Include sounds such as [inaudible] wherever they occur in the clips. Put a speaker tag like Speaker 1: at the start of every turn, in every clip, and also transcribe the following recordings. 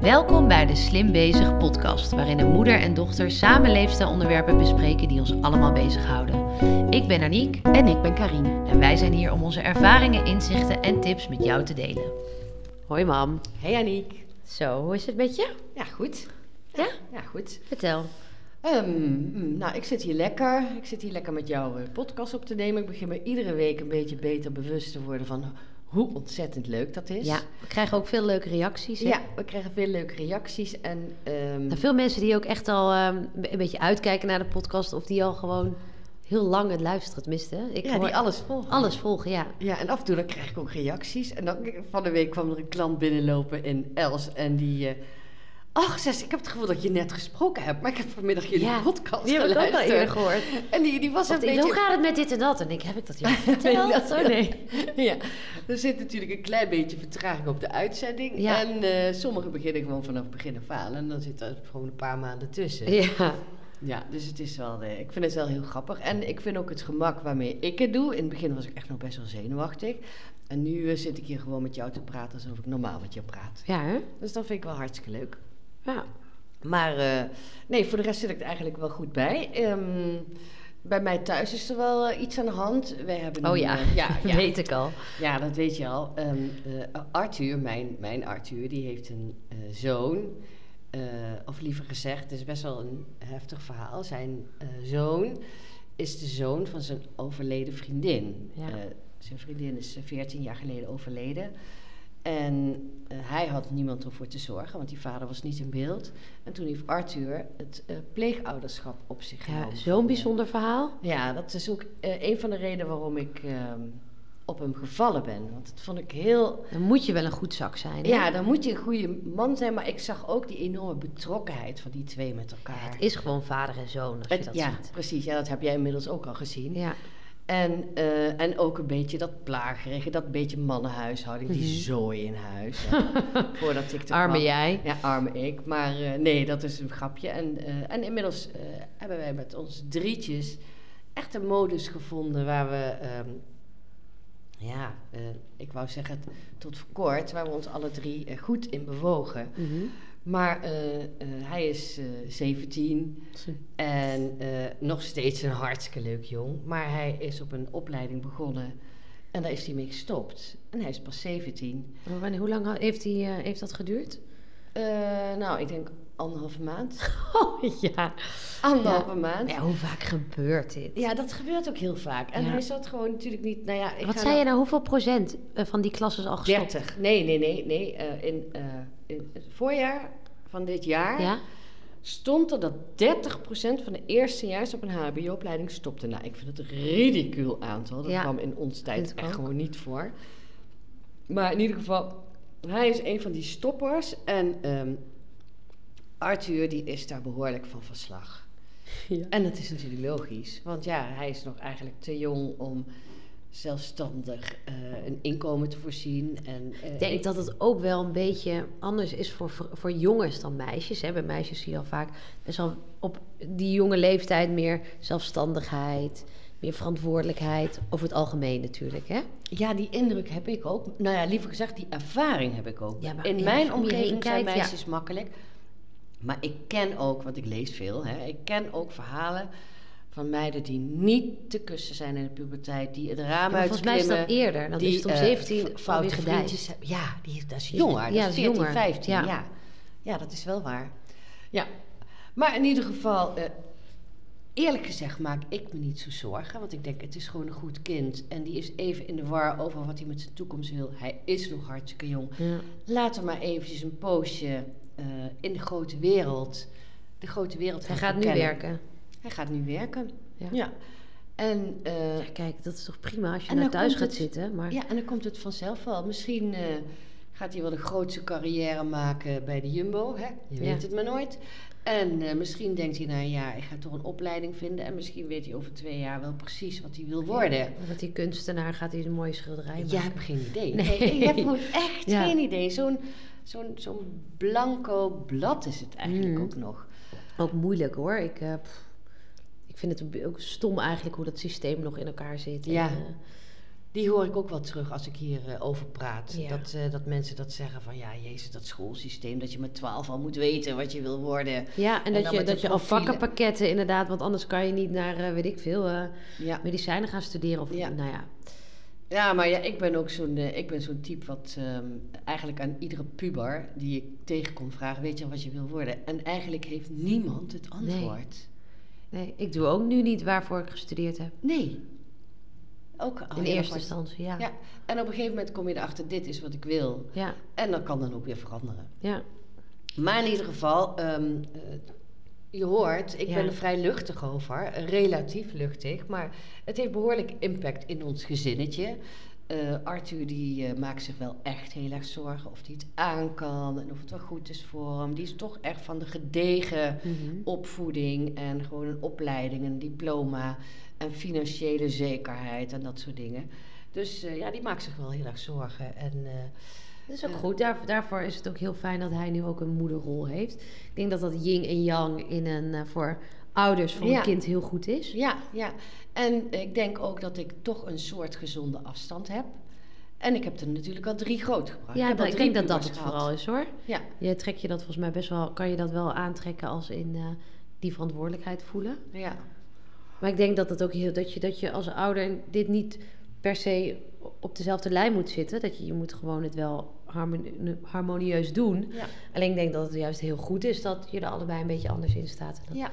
Speaker 1: Welkom bij de Slim Bezig podcast, waarin een moeder en dochter samen leefstijlonderwerpen bespreken die ons allemaal bezighouden. Ik ben Aniek
Speaker 2: En ik ben Karine.
Speaker 1: en wij zijn hier om onze ervaringen, inzichten en tips met jou te delen.
Speaker 2: Hoi mam.
Speaker 3: Hey Aniek.
Speaker 2: Zo, hoe is het met je?
Speaker 3: Ja, goed.
Speaker 2: Ja?
Speaker 3: Ja, goed.
Speaker 2: Vertel.
Speaker 3: Ehm, mm, nou, ik zit hier lekker. Ik zit hier lekker met jou eh, podcast op te nemen. Ik begin me iedere week een beetje beter bewust te worden van hoe ontzettend leuk dat is.
Speaker 2: Ja, we krijgen ook veel leuke reacties. hè?
Speaker 3: Ja, we krijgen veel leuke reacties. En ehm,
Speaker 2: Nou, veel mensen die ook echt al ehm, een beetje uitkijken naar de podcast of die al gewoon heel lang het luisteren. Tenminste, ik
Speaker 3: ja,
Speaker 2: hoor
Speaker 3: die alles volgen.
Speaker 2: alles volgen, ja.
Speaker 3: Ja, en af en toe dan krijg ik ook reacties. En dan, van de week kwam er een klant binnenlopen in Els. En die... eh Ach, zes, ik heb het gevoel dat je net gesproken hebt. Maar ik heb vanmiddag jullie
Speaker 2: Ja,
Speaker 3: podcast
Speaker 2: Die heb ik ook al
Speaker 3: geluisterd.
Speaker 2: eerder gehoord.
Speaker 3: En die, die was
Speaker 2: Of
Speaker 3: een
Speaker 2: die,
Speaker 3: beetje...
Speaker 2: Hoe gaat het met dit en dat? En ik heb ik dat jou
Speaker 3: [laughs]
Speaker 2: verteld?
Speaker 3: dat-
Speaker 2: Oh nee.
Speaker 3: [laughs] Ja, er zit natuurlijk een klein beetje vertraging op de uitzending.
Speaker 2: Ja.
Speaker 3: En eh, sommigen beginnen gewoon vanaf het begin af aan. En dan zit er gewoon een paar maanden tussen. Ja,
Speaker 2: Ja,
Speaker 3: dus het is wel, eh, ik vind het wel heel grappig. En ik vind ook het gemak waarmee ik het doe. In het begin was ik echt nog best wel zenuwachtig. En nu eh, zit ik hier gewoon met jou te praten alsof ik normaal met jou praat.
Speaker 2: ja hè?
Speaker 3: Dus dat vind ik wel hartstikke leuk.
Speaker 2: Ja.
Speaker 3: Maar eh, nee, voor de rest zit ik er eigenlijk wel goed bij. Ehm, bij mij thuis is er wel eh, iets aan de hand. Wij hebben
Speaker 2: Oh
Speaker 3: een,
Speaker 2: ja,
Speaker 3: eh,
Speaker 2: [laughs]
Speaker 3: ja, ja.
Speaker 2: weet ik al.
Speaker 3: Ja, dat weet je al. Ehm, eh, Arthur, mijn, mijn Arthur, die heeft een eh, zoon. Eh, of liever gezegd, het is best wel een heftig verhaal. Zijn eh, zoon is de zoon van zijn overleden vriendin.
Speaker 2: Ja.
Speaker 3: Eh, zijn vriendin is eh, 14 jaar geleden overleden. En eh, hij had niemand om voor te zorgen, want die vader was niet in beeld. En toen heeft Arthur het eh, pleegouderschap op zich
Speaker 2: Ja,
Speaker 3: genomen.
Speaker 2: Zo'n bijzonder verhaal.
Speaker 3: Ja, dat is ook eh, een van de redenen waarom ik ehm, op hem gevallen ben. Want dat vond ik heel.
Speaker 2: Dan moet je wel een goed zak zijn. hè?
Speaker 3: Ja, dan moet je een goede man zijn, maar ik zag ook die enorme betrokkenheid van die twee met elkaar.
Speaker 2: Het is gewoon vader en zoon als je
Speaker 3: Het-
Speaker 2: dat
Speaker 3: ja,
Speaker 2: ziet.
Speaker 3: precies. Ja, dat heb jij inmiddels ook al gezien.
Speaker 2: Ja,
Speaker 3: En, eh, en ook een beetje dat plagerige, dat beetje mannenhuishouding, die
Speaker 2: Mhm.
Speaker 3: zooi in huis.
Speaker 2: [laughs]
Speaker 3: Ja, voordat ik er
Speaker 2: arme
Speaker 3: kwam.
Speaker 2: jij.
Speaker 3: Ja, arme ik. Maar eh, nee, dat is een grapje. En, eh, en inmiddels eh, hebben wij met ons drietjes echt een modus gevonden waar we, ehm, ja, eh, ik wou zeggen t- tot voor kort, waar we ons alle drie eh, goed in bewogen.
Speaker 2: Mhm.
Speaker 3: Maar eh, eh, hij is eh, 17 en eh, nog steeds een hartstikke leuk jong. Maar hij is op een opleiding begonnen en daar is hij mee gestopt. En hij is pas 17.
Speaker 2: Maar wanneer- hoe lang ha- heeft, die, eh, heeft dat geduurd? [laughs]
Speaker 3: Eh, nou, ik denk anderhalve maand.
Speaker 2: Oh ja.
Speaker 3: Anderhalve maand. Ja.
Speaker 2: ja. Hoe vaak gebeurt dit?
Speaker 3: dat gebeurt ook heel vaak. En
Speaker 2: Ja.
Speaker 3: hij zat gewoon natuurlijk niet. Nou ja, ik
Speaker 2: Wat
Speaker 3: ga
Speaker 2: zei je
Speaker 3: nou-
Speaker 2: nou? Hoeveel procent eh, van die klas is al gestopt?
Speaker 3: 30. Nee, nee, nee. nee. eh, in, eh, in het voorjaar van dit jaar
Speaker 2: Ja?
Speaker 3: stond er dat 30% van de eerstejaars op een HBO-opleiding stopte. Nou, ik vind het een ridicuul aantal. Dat
Speaker 2: Ja,
Speaker 3: kwam in onze
Speaker 2: vind
Speaker 3: tijd
Speaker 2: ik
Speaker 3: echt
Speaker 2: ook.
Speaker 3: gewoon niet voor. Maar in ieder geval, hij is een van die stoppers. En ehm, Arthur, die is daar behoorlijk van verslag.
Speaker 2: Ja.
Speaker 3: En dat is natuurlijk logisch, want ja, hij is nog eigenlijk te jong om zelfstandig eh, een inkomen te voorzien. En, eh,
Speaker 2: Ik denk dat het ook wel een beetje anders is voor, voor, voor jongens dan meisjes. Hè? Bij meisjes zie je al vaak best wel op die jonge leeftijd meer zelfstandigheid, meer verantwoordelijkheid. Over het algemeen natuurlijk. Hè?
Speaker 3: Ja, die indruk heb ik ook. Nou ja, liever gezegd, die ervaring heb ik ook.
Speaker 2: Ja, maar ja,
Speaker 3: In
Speaker 2: om
Speaker 3: mijn
Speaker 2: je heen
Speaker 3: omgeving zijn
Speaker 2: kijkt, ja.
Speaker 3: meisjes makkelijk. Maar ik ken ook, want ik lees veel, hè, ik ken ook verhalen van meiden die niet te kussen zijn in de puberteit, die het raam
Speaker 2: Ja, maar volgens mij is dat
Speaker 3: uitklimmen,
Speaker 2: eerder. Dan
Speaker 3: die,
Speaker 2: is het om
Speaker 3: eh,
Speaker 2: 17
Speaker 3: f-
Speaker 2: alweer
Speaker 3: foute
Speaker 2: gedijs.
Speaker 3: vriendjes hebben. Dus, eh, Ja, die, dat is
Speaker 2: Die-
Speaker 3: jonger.
Speaker 2: ja,
Speaker 3: dat
Speaker 2: dat
Speaker 3: is
Speaker 2: is
Speaker 3: 14,
Speaker 2: jonger.
Speaker 3: 15.
Speaker 2: Ja.
Speaker 3: Ja. Ja. dat is wel waar. Ja, maar in ieder geval, eh, eerlijk gezegd maak ik me niet zo zorgen. Want ik denk, het is gewoon een goed kind. En die is even in de war over wat hij met zijn toekomst wil. Hij is nog hartstikke jong.
Speaker 2: Ja.
Speaker 3: Laten we maar eventjes een poosje eh, in de grote wereld. De grote wereld
Speaker 2: Hij
Speaker 3: gaan
Speaker 2: gaat nu
Speaker 3: verkennen.
Speaker 2: werken.
Speaker 3: Hij gaat nu werken.
Speaker 2: Ja.
Speaker 3: Ja. En eh,
Speaker 2: Ja, kijk, dat is toch prima als je
Speaker 3: En
Speaker 2: naar
Speaker 3: dan
Speaker 2: thuis
Speaker 3: komt
Speaker 2: gaat
Speaker 3: het-
Speaker 2: zitten. Maar
Speaker 3: ja, en dan komt het vanzelf wel. Misschien eh, gaat hij wel de grootste carrière maken bij de Jumbo. Hè? Je
Speaker 2: Ja.
Speaker 3: weet het maar nooit. En eh, misschien denkt hij, nou ja, ik ga toch een opleiding vinden. En misschien weet hij over twee jaar wel precies wat hij wil worden.
Speaker 2: Met die kunstenaar gaat hij een mooie schilderij maken.
Speaker 3: Jij hebt geen idee.
Speaker 2: Nee.
Speaker 3: Nee. ik heb gewoon echt
Speaker 2: Ja.
Speaker 3: geen idee. Zo'n zo'n zo'n blanco blad is het eigenlijk
Speaker 2: Mm.
Speaker 3: ook nog.
Speaker 2: Ook moeilijk hoor. Ik, eh, pff, ik vind het ook stom eigenlijk hoe dat systeem nog in elkaar zit.
Speaker 3: Ja.
Speaker 2: En, eh,
Speaker 3: die hoor ik ook wel terug als ik hierover over praat.
Speaker 2: Ja.
Speaker 3: Dat, eh, dat mensen dat zeggen van ja, jezus, dat schoolsysteem, dat je met 12 al moet weten wat je wil worden.
Speaker 2: Ja, en,
Speaker 3: En
Speaker 2: dat
Speaker 3: dan
Speaker 2: je,
Speaker 3: met de
Speaker 2: dat je al
Speaker 3: profielen.
Speaker 2: vakkenpakketten inderdaad, want anders kan je niet naar, eh, weet ik veel, eh,
Speaker 3: Ja,
Speaker 2: medicijnen gaan studeren. Of,
Speaker 3: Ja.
Speaker 2: Nou ja,
Speaker 3: ja maar ja, ik ben ook zo'n eh, ik ben zo'n type wat ehm, eigenlijk aan iedere puber die ik tegenkom vragen, weet je al wat je wil worden? En eigenlijk heeft niemand het antwoord.
Speaker 2: nee, ik doe ook nu niet waarvoor ik gestudeerd heb.
Speaker 3: Nee. Ook al
Speaker 2: in
Speaker 3: Oh, heel
Speaker 2: eerste
Speaker 3: apart.
Speaker 2: instantie, ja.
Speaker 3: Ja, en op een gegeven moment kom je erachter, dit is wat ik wil.
Speaker 2: Ja,
Speaker 3: En dat kan dan ook weer veranderen.
Speaker 2: ja.
Speaker 3: Maar in ieder geval, ehm, eh, je hoort, ik
Speaker 2: Ja.
Speaker 3: ben er vrij luchtig over. eh, Relatief luchtig. Maar het heeft behoorlijk impact in ons gezinnetje. Eh, Arthur die eh, maakt zich wel echt heel erg zorgen of hij het aan kan en of het wel goed is voor hem. Die is toch echt van de gedegen
Speaker 2: Mhm.
Speaker 3: opvoeding en gewoon een opleiding, een diploma en financiële zekerheid en dat soort dingen. Dus eh, ja, die maakt zich wel heel erg zorgen. En eh,
Speaker 2: Dat is ook
Speaker 3: Ja.
Speaker 2: goed. Daar, daarvoor is het ook heel fijn dat hij nu ook een moederrol heeft. Ik denk dat dat yin en yang in een, eh, voor ouders van
Speaker 3: Ja.
Speaker 2: een kind heel goed is.
Speaker 3: Ja, ja. En ik denk ook dat ik toch een soort gezonde afstand heb. En ik heb er natuurlijk al drie groot gebracht.
Speaker 2: Ja,
Speaker 3: heb
Speaker 2: dat,
Speaker 3: al
Speaker 2: ik
Speaker 3: drie
Speaker 2: denk dat dat het
Speaker 3: pubers gehad.
Speaker 2: vooral is hoor.
Speaker 3: Ja,
Speaker 2: Je trekt je dat volgens mij best wel, kan je dat wel aantrekken als in eh, die verantwoordelijkheid voelen.
Speaker 3: ja.
Speaker 2: Maar ik denk dat het ook heel dat je, dat je als ouder dit niet per se op dezelfde lijn moet zitten. Dat je, je moet gewoon het wel harmoni- harmonieus doen.
Speaker 3: Ja.
Speaker 2: Alleen ik denk dat het juist heel goed is dat je er allebei een beetje anders in staat. En dat
Speaker 3: ja.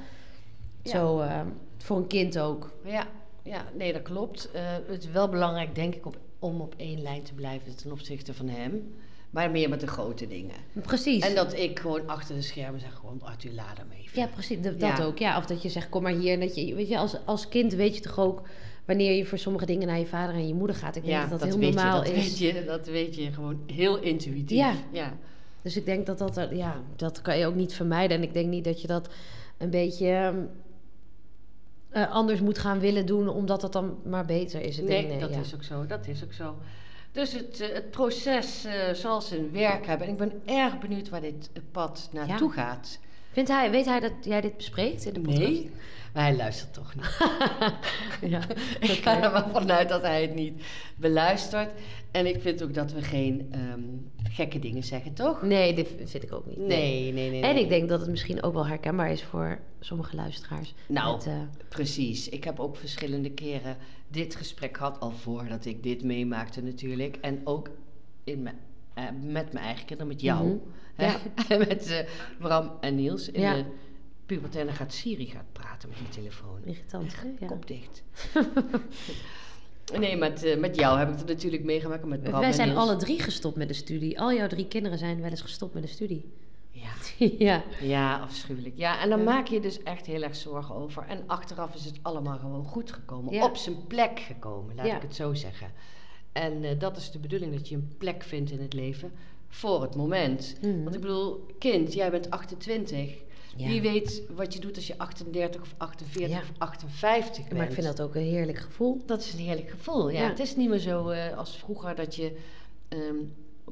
Speaker 3: Ja.
Speaker 2: Zo eh, voor een kind ook.
Speaker 3: Ja, ja, nee, dat klopt. Eh, het is wel belangrijk, denk ik, op, om op één lijn te blijven ten opzichte van hem. Maar meer met de grote dingen.
Speaker 2: Precies.
Speaker 3: En dat ik gewoon achter de schermen zeg, gewoon Arthur, laat hem even.
Speaker 2: ja, precies. Dat, dat
Speaker 3: Ja.
Speaker 2: ook. Ja, of dat je zegt, kom maar hier. En dat je, weet je, als, als kind weet je toch ook wanneer je voor sommige dingen naar je vader en je moeder gaat. Ik denk dat dat, heel
Speaker 3: weet
Speaker 2: normaal
Speaker 3: je, dat
Speaker 2: is.
Speaker 3: Weet je, dat weet je gewoon heel intuïtief.
Speaker 2: Ja.
Speaker 3: ja.
Speaker 2: Dus ik denk dat dat, er- ja, dat kan je ook niet vermijden. En ik denk niet dat je dat een beetje ehm, eh, anders moet gaan willen doen, omdat dat dan maar beter is. Ik
Speaker 3: nee,
Speaker 2: denk, nee,
Speaker 3: dat
Speaker 2: eh, ja.
Speaker 3: is ook zo. Dat is ook zo. Dus het, eh, het proces eh, zal zijn werk hebben. En ik ben erg benieuwd waar dit eh, pad naartoe gaat.
Speaker 2: Vindt hij, weet hij dat jij dit bespreekt in de podcast? [laughs]
Speaker 3: maar hij luistert toch niet.
Speaker 2: [laughs] Ja.
Speaker 3: ik ga er wel vanuit dat hij het niet beluistert. En ik vind ook dat we geen ehm, gekke dingen zeggen, toch?
Speaker 2: Nee, dit vind ik ook niet.
Speaker 3: Nee, nee, nee. nee.
Speaker 2: En ik denk dat het misschien ook wel herkenbaar is voor sommige luisteraars.
Speaker 3: Nou,
Speaker 2: Met, eh,
Speaker 3: Precies. Ik heb ook verschillende keren dit gesprek gehad, al voordat ik dit meemaakte natuurlijk. En ook in mijn, eh, met mijn eigen kinderen, met jou.
Speaker 2: Mhm.
Speaker 3: hè. [laughs]
Speaker 2: Ja.
Speaker 3: En met eh, Bram en Niels in
Speaker 2: Ja.
Speaker 3: de puberteit. En dan gaat Siri gaat praten met die telefoon.
Speaker 2: irritant. hè? Ja.
Speaker 3: Kop dicht. nee, met, eh, met jou heb ik het natuurlijk meegemaakt. en Met Bram
Speaker 2: Wij
Speaker 3: en
Speaker 2: zijn
Speaker 3: Niels.
Speaker 2: alle drie gestopt met de studie. Al jouw drie kinderen zijn wel eens gestopt met de studie. [laughs]
Speaker 3: Ja.
Speaker 2: ja.
Speaker 3: Ja, afschuwelijk. Ja, en dan
Speaker 2: Ja.
Speaker 3: maak je dus echt heel erg zorgen over. En achteraf is het allemaal gewoon goed gekomen.
Speaker 2: Ja.
Speaker 3: Op zijn plek gekomen, laat
Speaker 2: Ja.
Speaker 3: ik het zo zeggen. En eh, dat is de bedoeling, dat je een plek vindt in het leven voor het moment.
Speaker 2: Mhm.
Speaker 3: Want ik bedoel, kind, jij bent 28.
Speaker 2: Ja.
Speaker 3: Wie weet wat je doet als je 38 of 48
Speaker 2: Ja.
Speaker 3: of 58 bent.
Speaker 2: Maar ik vind dat ook een heerlijk gevoel.
Speaker 3: Dat is een heerlijk gevoel, ja.
Speaker 2: Ja.
Speaker 3: Het is niet meer zo eh, als vroeger dat je... ehm,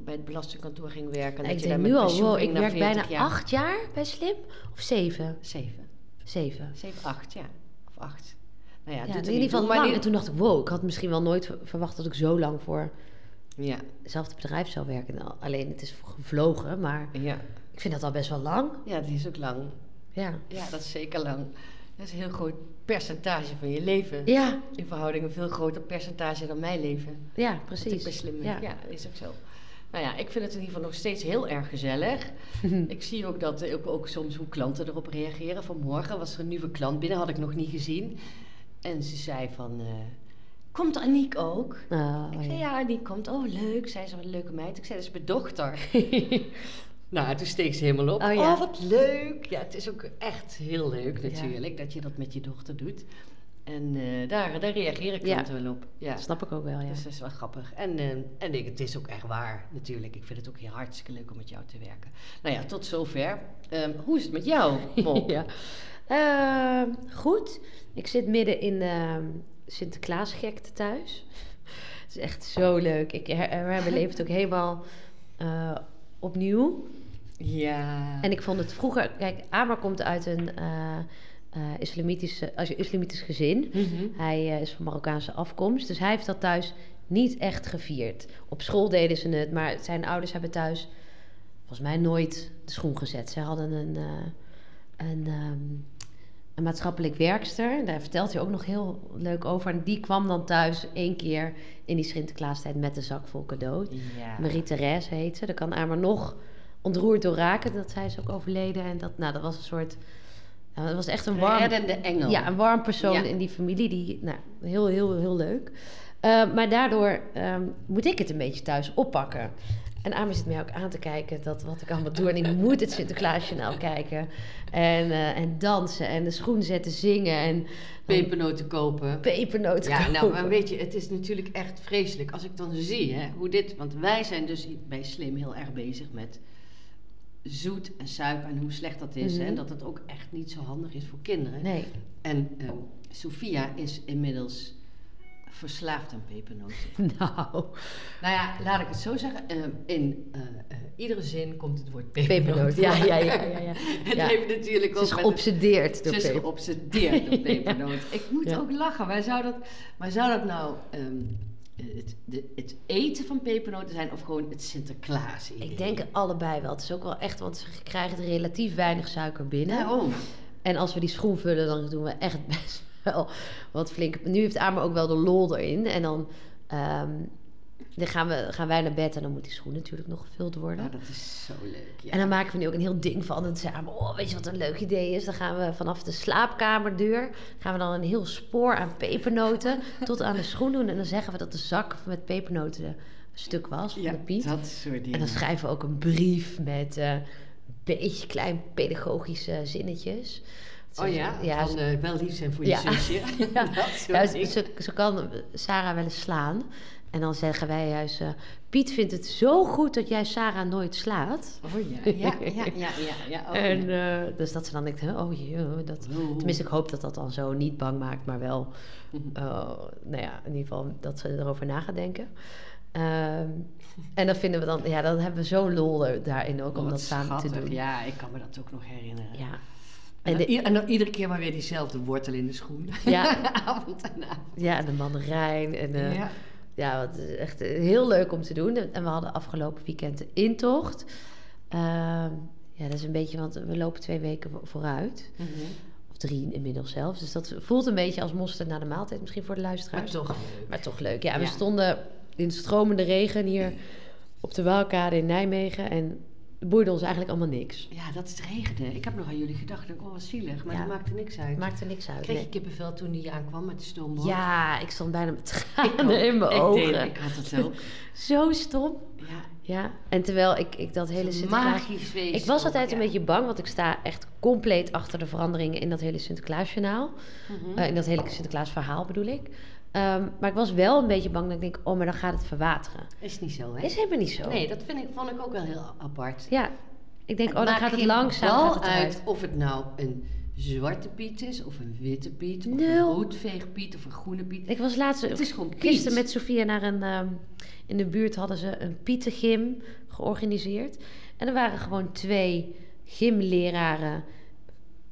Speaker 3: bij het belastingkantoor ging werken. en
Speaker 2: Nou,
Speaker 3: dat
Speaker 2: ik
Speaker 3: je daar
Speaker 2: denk
Speaker 3: met
Speaker 2: nu al,
Speaker 3: pensioen
Speaker 2: wow,
Speaker 3: ging
Speaker 2: ik
Speaker 3: na
Speaker 2: werk
Speaker 3: 40
Speaker 2: bijna
Speaker 3: jaar.
Speaker 2: acht jaar bij Slim. Of zeven?
Speaker 3: Zeven.
Speaker 2: Zeven.
Speaker 3: 7, 8, ja. Of 8. Nou ja,
Speaker 2: Ja,
Speaker 3: doet er
Speaker 2: in ieder
Speaker 3: niet
Speaker 2: geval
Speaker 3: toe, maar
Speaker 2: lang.
Speaker 3: in
Speaker 2: En toen dacht ik, wow, ik had misschien wel nooit ver- verwacht dat ik zo lang voor
Speaker 3: Ja,
Speaker 2: hetzelfde bedrijf zou werken. Nou, alleen het is gevlogen, maar
Speaker 3: ja.
Speaker 2: ik vind dat al best wel lang.
Speaker 3: ja, die is ook lang.
Speaker 2: Ja.
Speaker 3: Ja, dat is zeker lang. Dat is een heel groot percentage van je leven.
Speaker 2: Ja,
Speaker 3: In verhouding een veel groter percentage dan mijn leven.
Speaker 2: ja,
Speaker 3: Dat
Speaker 2: precies.
Speaker 3: ik best slim ben.
Speaker 2: Ja.
Speaker 3: Ja. dat is ook zo. Nou ja, ik vind het in ieder geval nog steeds heel erg gezellig.
Speaker 2: [laughs]
Speaker 3: ik zie ook, dat, eh, ook, ook soms hoe klanten erop reageren. Vanmorgen was er een nieuwe klant binnen, had ik nog niet gezien. En ze zei van, eh, komt Aniek ook?
Speaker 2: Oh,
Speaker 3: Ik zei,
Speaker 2: ja.
Speaker 3: ja, die komt. Oh, leuk. Zij is wel een leuke meid. Ik zei, dat is mijn dochter. nou, toen steeg ze helemaal op.
Speaker 2: Oh,
Speaker 3: Oh,
Speaker 2: ja.
Speaker 3: wat leuk. Ja, het is ook echt heel leuk
Speaker 2: Ja.
Speaker 3: natuurlijk dat je dat met je dochter doet. En eh, daar, daar reageren klanten wel op. Ja.
Speaker 2: [laughs] Dat snap ik ook wel, ja.
Speaker 3: Dus dat is wel grappig. En, eh, en ik, het is ook echt waar, natuurlijk. Ik vind het ook heel hartstikke leuk om met jou te werken. Nou ja, tot zover. Ehm, hoe is het met jou,
Speaker 2: [laughs]
Speaker 3: Mol?
Speaker 2: ja. Ehm, goed. Ik zit midden in ehm Sinterklaasgekte thuis. [laughs] Het is echt zo leuk. Ik her- herbeleef het ook helemaal eh, opnieuw.
Speaker 3: Ja.
Speaker 2: En ik vond het vroeger... Kijk, Amar komt uit een eh eh, islamitische, als je islamitisch gezin.
Speaker 3: Mhm.
Speaker 2: Hij eh, is van Marokkaanse afkomst. Dus hij heeft dat thuis niet echt gevierd. Op school deden ze het, maar zijn ouders hebben thuis volgens mij nooit de schoen gezet. Ze hadden een, eh, een, ehm, een maatschappelijk werkster. Daar vertelt hij ook nog heel leuk over. En die kwam dan thuis één keer in die Sinterklaastijd met een zak vol cadeaus.
Speaker 3: Ja.
Speaker 2: Marie-Thérèse heet ze. Daar kan Amer nog ontroerd door raken. Dat zij is ook overleden. En dat, nou, dat was een soort... nou, dat was echt een warm...
Speaker 3: Reddende engel.
Speaker 2: Ja, een warm persoon
Speaker 3: Nou. Ja.
Speaker 2: in die familie. Die, nou, heel, heel, heel leuk. Eh, maar daardoor ehm, moet ik het een beetje thuis oppakken. En Amer zit mij ook aan te kijken dat wat ik allemaal doe. En
Speaker 3: [laughs]
Speaker 2: ik moet het Sinterklaasje nou kijken. En, eh, en dansen en de schoen zetten, zingen en eh,
Speaker 3: Pepernoten kopen.
Speaker 2: pepernoten
Speaker 3: Ja, nou,
Speaker 2: koken.
Speaker 3: maar weet je, het is natuurlijk echt vreselijk. Als ik dan zie hè, hoe dit. Want wij zijn dus bij Slim heel erg bezig met zoet en suiker en hoe slecht dat is.
Speaker 2: Mhm.
Speaker 3: hè, En dat het ook echt niet zo handig is voor kinderen.
Speaker 2: Nee,
Speaker 3: En ehm Sophia is inmiddels verslaafd aan pepernoten.
Speaker 2: [laughs] nou,
Speaker 3: Nou ja, laat ik het zo zeggen. ehm, in eh, eh, iedere zin komt het woord pepernoot.
Speaker 2: pepernoten. Ja, ja, ja, ja, ja.
Speaker 3: [laughs] Het
Speaker 2: Ja.
Speaker 3: heeft natuurlijk
Speaker 2: Ze
Speaker 3: ook
Speaker 2: is
Speaker 3: met het-
Speaker 2: geobsedeerd door
Speaker 3: Ze is
Speaker 2: peper. [laughs]
Speaker 3: geobsedeerd door pepernoot. Ik moet
Speaker 2: Ja.
Speaker 3: ook lachen. Maar zou dat, maar zou dat nou ehm, het, de- het eten van pepernoten zijn of gewoon het Sinterklaas?
Speaker 2: Ik denk allebei wel. Het is ook wel echt, want ze krijgen relatief weinig suiker binnen.
Speaker 3: Daarom.
Speaker 2: En als we die schoen vullen, dan doen we echt [laughs] best wel wat flink. Nu heeft Amer ook wel de lol erin. En dan, ehm, dan gaan, we, gaan wij naar bed en dan moet die schoen natuurlijk nog gevuld worden.
Speaker 3: Nou, dat is zo leuk. Ja.
Speaker 2: En dan maken we nu ook een heel ding van. En dan zeggen we, oh, weet je wat een leuk idee is? Dan gaan we vanaf de slaapkamerdeur... gaan we dan een heel spoor aan pepernoten [laughs] tot aan de schoen doen. En dan zeggen we dat de zak met pepernoten stuk was van
Speaker 3: ja,
Speaker 2: de Piet.
Speaker 3: dat soort dingen.
Speaker 2: En dan schrijven we ook een brief met eh, een beetje klein pedagogische zinnetjes. Ze-
Speaker 3: Oh ja,
Speaker 2: ja,
Speaker 3: van
Speaker 2: ze,
Speaker 3: eh, wel lief zijn voor
Speaker 2: Ja.
Speaker 3: je zusje.
Speaker 2: [laughs] Ja.
Speaker 3: [laughs] Dat soort
Speaker 2: ja, ze,
Speaker 3: dingen.
Speaker 2: ze- ze kan Sarah wel eens slaan. En dan zeggen wij juist... eh, Piet vindt het zo goed dat jij Sarah nooit slaat.
Speaker 3: Oh ja,
Speaker 2: [laughs]
Speaker 3: ja, ja, ja, ja. ja. Oh,
Speaker 2: en,
Speaker 3: ja.
Speaker 2: eh, dus dat ze dan denkt, hè, oh jee, dat...
Speaker 3: Oh.
Speaker 2: Tenminste, ik hoop dat dat dan zo niet bang maakt, maar wel,
Speaker 3: Mhm.
Speaker 2: eh, nou ja, in ieder geval dat ze erover na gaat denken. Ehm, en dan vinden we dan, ja, dan hebben we zo'n lol er- daarin ook om
Speaker 3: Oh, Wat
Speaker 2: dat samen te
Speaker 3: schattig.
Speaker 2: doen.
Speaker 3: Ja, ik kan me dat ook nog herinneren.
Speaker 2: Ja.
Speaker 3: En,
Speaker 2: En de,
Speaker 3: [laughs] dan, i- en dan iedere keer maar weer diezelfde wortel in de schoen.
Speaker 2: Ja.
Speaker 3: avond en avond.
Speaker 2: ja, en de mandarijn. En, eh, ja.
Speaker 3: [laughs] Ja.
Speaker 2: wat is echt eh, heel leuk om te doen. En we hadden afgelopen weekend de intocht. Ehm, ja, dat is een beetje, want we lopen twee weken vo- vooruit. Of drie inmiddels zelfs. Dus dat voelt een beetje als mosterd na de maaltijd misschien voor de
Speaker 3: Maar
Speaker 2: luisteraars.
Speaker 3: toch.
Speaker 2: Maar toch leuk. Ja, we
Speaker 3: Ja.
Speaker 2: stonden in stromende regen hier op de Waalkade in Nijmegen. En het boeide ons eigenlijk allemaal niks.
Speaker 3: Ja, dat is het regende. Ik heb nog aan jullie gedacht. Ik dacht, Oh, wat zielig. Maar
Speaker 2: Ja.
Speaker 3: dat maakte niks uit.
Speaker 2: Het maakte niks uit.
Speaker 3: Kreeg
Speaker 2: nee.
Speaker 3: je kippenvel toen die aankwam met de stoomboot?
Speaker 2: Ja, ik stond bijna met [laughs]
Speaker 3: Ik ook.
Speaker 2: tranen in mijn
Speaker 3: ik
Speaker 2: ogen.
Speaker 3: Deed, ik had
Speaker 2: [laughs]
Speaker 3: het ook.
Speaker 2: Zo stom.
Speaker 3: Ja,
Speaker 2: Ja, en terwijl ik, ik dat hele
Speaker 3: zo'n
Speaker 2: Sinterklaas...
Speaker 3: magisch wezen.
Speaker 2: Ik was
Speaker 3: ook,
Speaker 2: altijd een
Speaker 3: ja.
Speaker 2: beetje bang, want ik sta echt compleet achter de veranderingen in dat hele Sinterklaasjournaal.
Speaker 3: Mhm.
Speaker 2: Eh, in dat hele Sinterklaasverhaal bedoel ik. Ehm, maar ik was wel een beetje bang dat ik denk, oh, maar dan gaat het verwateren.
Speaker 3: Is niet zo, hè?
Speaker 2: Is helemaal niet zo.
Speaker 3: Nee, dat vind ik, vond ik ook wel heel apart.
Speaker 2: Ja, ik denk, oh, dan
Speaker 3: maakt
Speaker 2: gaat het
Speaker 3: geen
Speaker 2: langzaam
Speaker 3: bal
Speaker 2: gaat het eruit.
Speaker 3: uit of het nou een zwarte piet is, of een witte piet, of
Speaker 2: Nul.
Speaker 3: een roodveegpiet, of een groene piet.
Speaker 2: Ik was laatst
Speaker 3: Het is gewoon Piet.
Speaker 2: gisteren met Sofia naar een... ehm, in de buurt hadden ze een Pietengym georganiseerd. En er waren gewoon twee gymleraren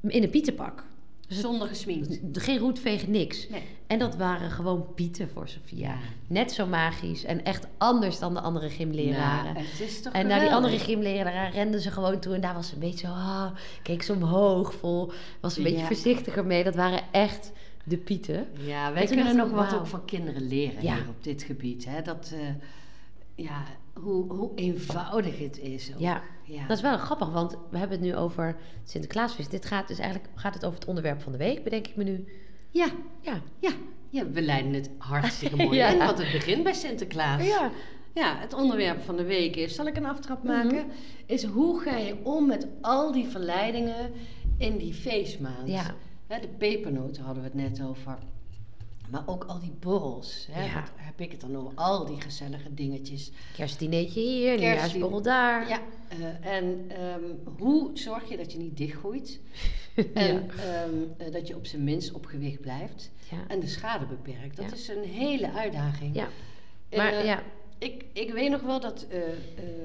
Speaker 2: in een Pietenpak.
Speaker 3: Zonder Nou, gesminkt.
Speaker 2: Dus Geen roetvegen, niks.
Speaker 3: Nee.
Speaker 2: En dat waren gewoon pieten voor Sofia.
Speaker 3: Ja.
Speaker 2: Net zo magisch en echt anders dan de andere gymleraren.
Speaker 3: Nou, het is toch
Speaker 2: en naar die
Speaker 3: geweldig?
Speaker 2: andere gymleraar renden ze gewoon toe. En daar was ze een beetje zo, ah, keek ze omhoog, vol. Was een beetje
Speaker 3: Ja.
Speaker 2: voorzichtiger mee. Dat waren echt de pieten.
Speaker 3: Ja,
Speaker 2: En
Speaker 3: wij
Speaker 2: toen
Speaker 3: kunnen
Speaker 2: dacht
Speaker 3: nog
Speaker 2: ik,
Speaker 3: wat
Speaker 2: wauw.
Speaker 3: ook van kinderen leren
Speaker 2: Ja.
Speaker 3: hier op dit gebied. Hè? Dat, eh, ja, hoe, hoe eenvoudig het is. ook.
Speaker 2: Ja.
Speaker 3: ja.
Speaker 2: Dat is wel grappig, want we hebben het nu over het Sinterklaasfeest. Dit gaat dus eigenlijk gaat het over het onderwerp van de week, bedenk ik me nu.
Speaker 3: ja,
Speaker 2: Ja.
Speaker 3: ja, ja, we leiden het
Speaker 2: [laughs]
Speaker 3: hartstikke mooi
Speaker 2: Ja.
Speaker 3: in, want het begint bij Sinterklaas.
Speaker 2: Ja.
Speaker 3: Ja, het onderwerp van de week is, zal ik een
Speaker 2: Mhm.
Speaker 3: aftrap maken, is hoe ga je om met al die verleidingen in die feestmaand.
Speaker 2: Ja.
Speaker 3: Hè, de pepernoten hadden we het net over. Maar ook al die borrels. Hè,
Speaker 2: Ja.
Speaker 3: dat heb ik het dan over. Al die gezellige dingetjes.
Speaker 2: Kerstdineetje hier,
Speaker 3: Kerstdiner.
Speaker 2: nieuwjaarsborrel daar.
Speaker 3: Ja, eh, en ehm, hoe zorg je dat je niet dichtgroeit? En ehm, eh, dat je op zijn minst op gewicht blijft.
Speaker 2: [laughs] Ja.
Speaker 3: En de schade beperkt. Dat
Speaker 2: Ja.
Speaker 3: is een hele uitdaging.
Speaker 2: Ja.
Speaker 3: En,
Speaker 2: Maar
Speaker 3: eh,
Speaker 2: ja,
Speaker 3: ik, ik weet nog wel dat eh, ehm,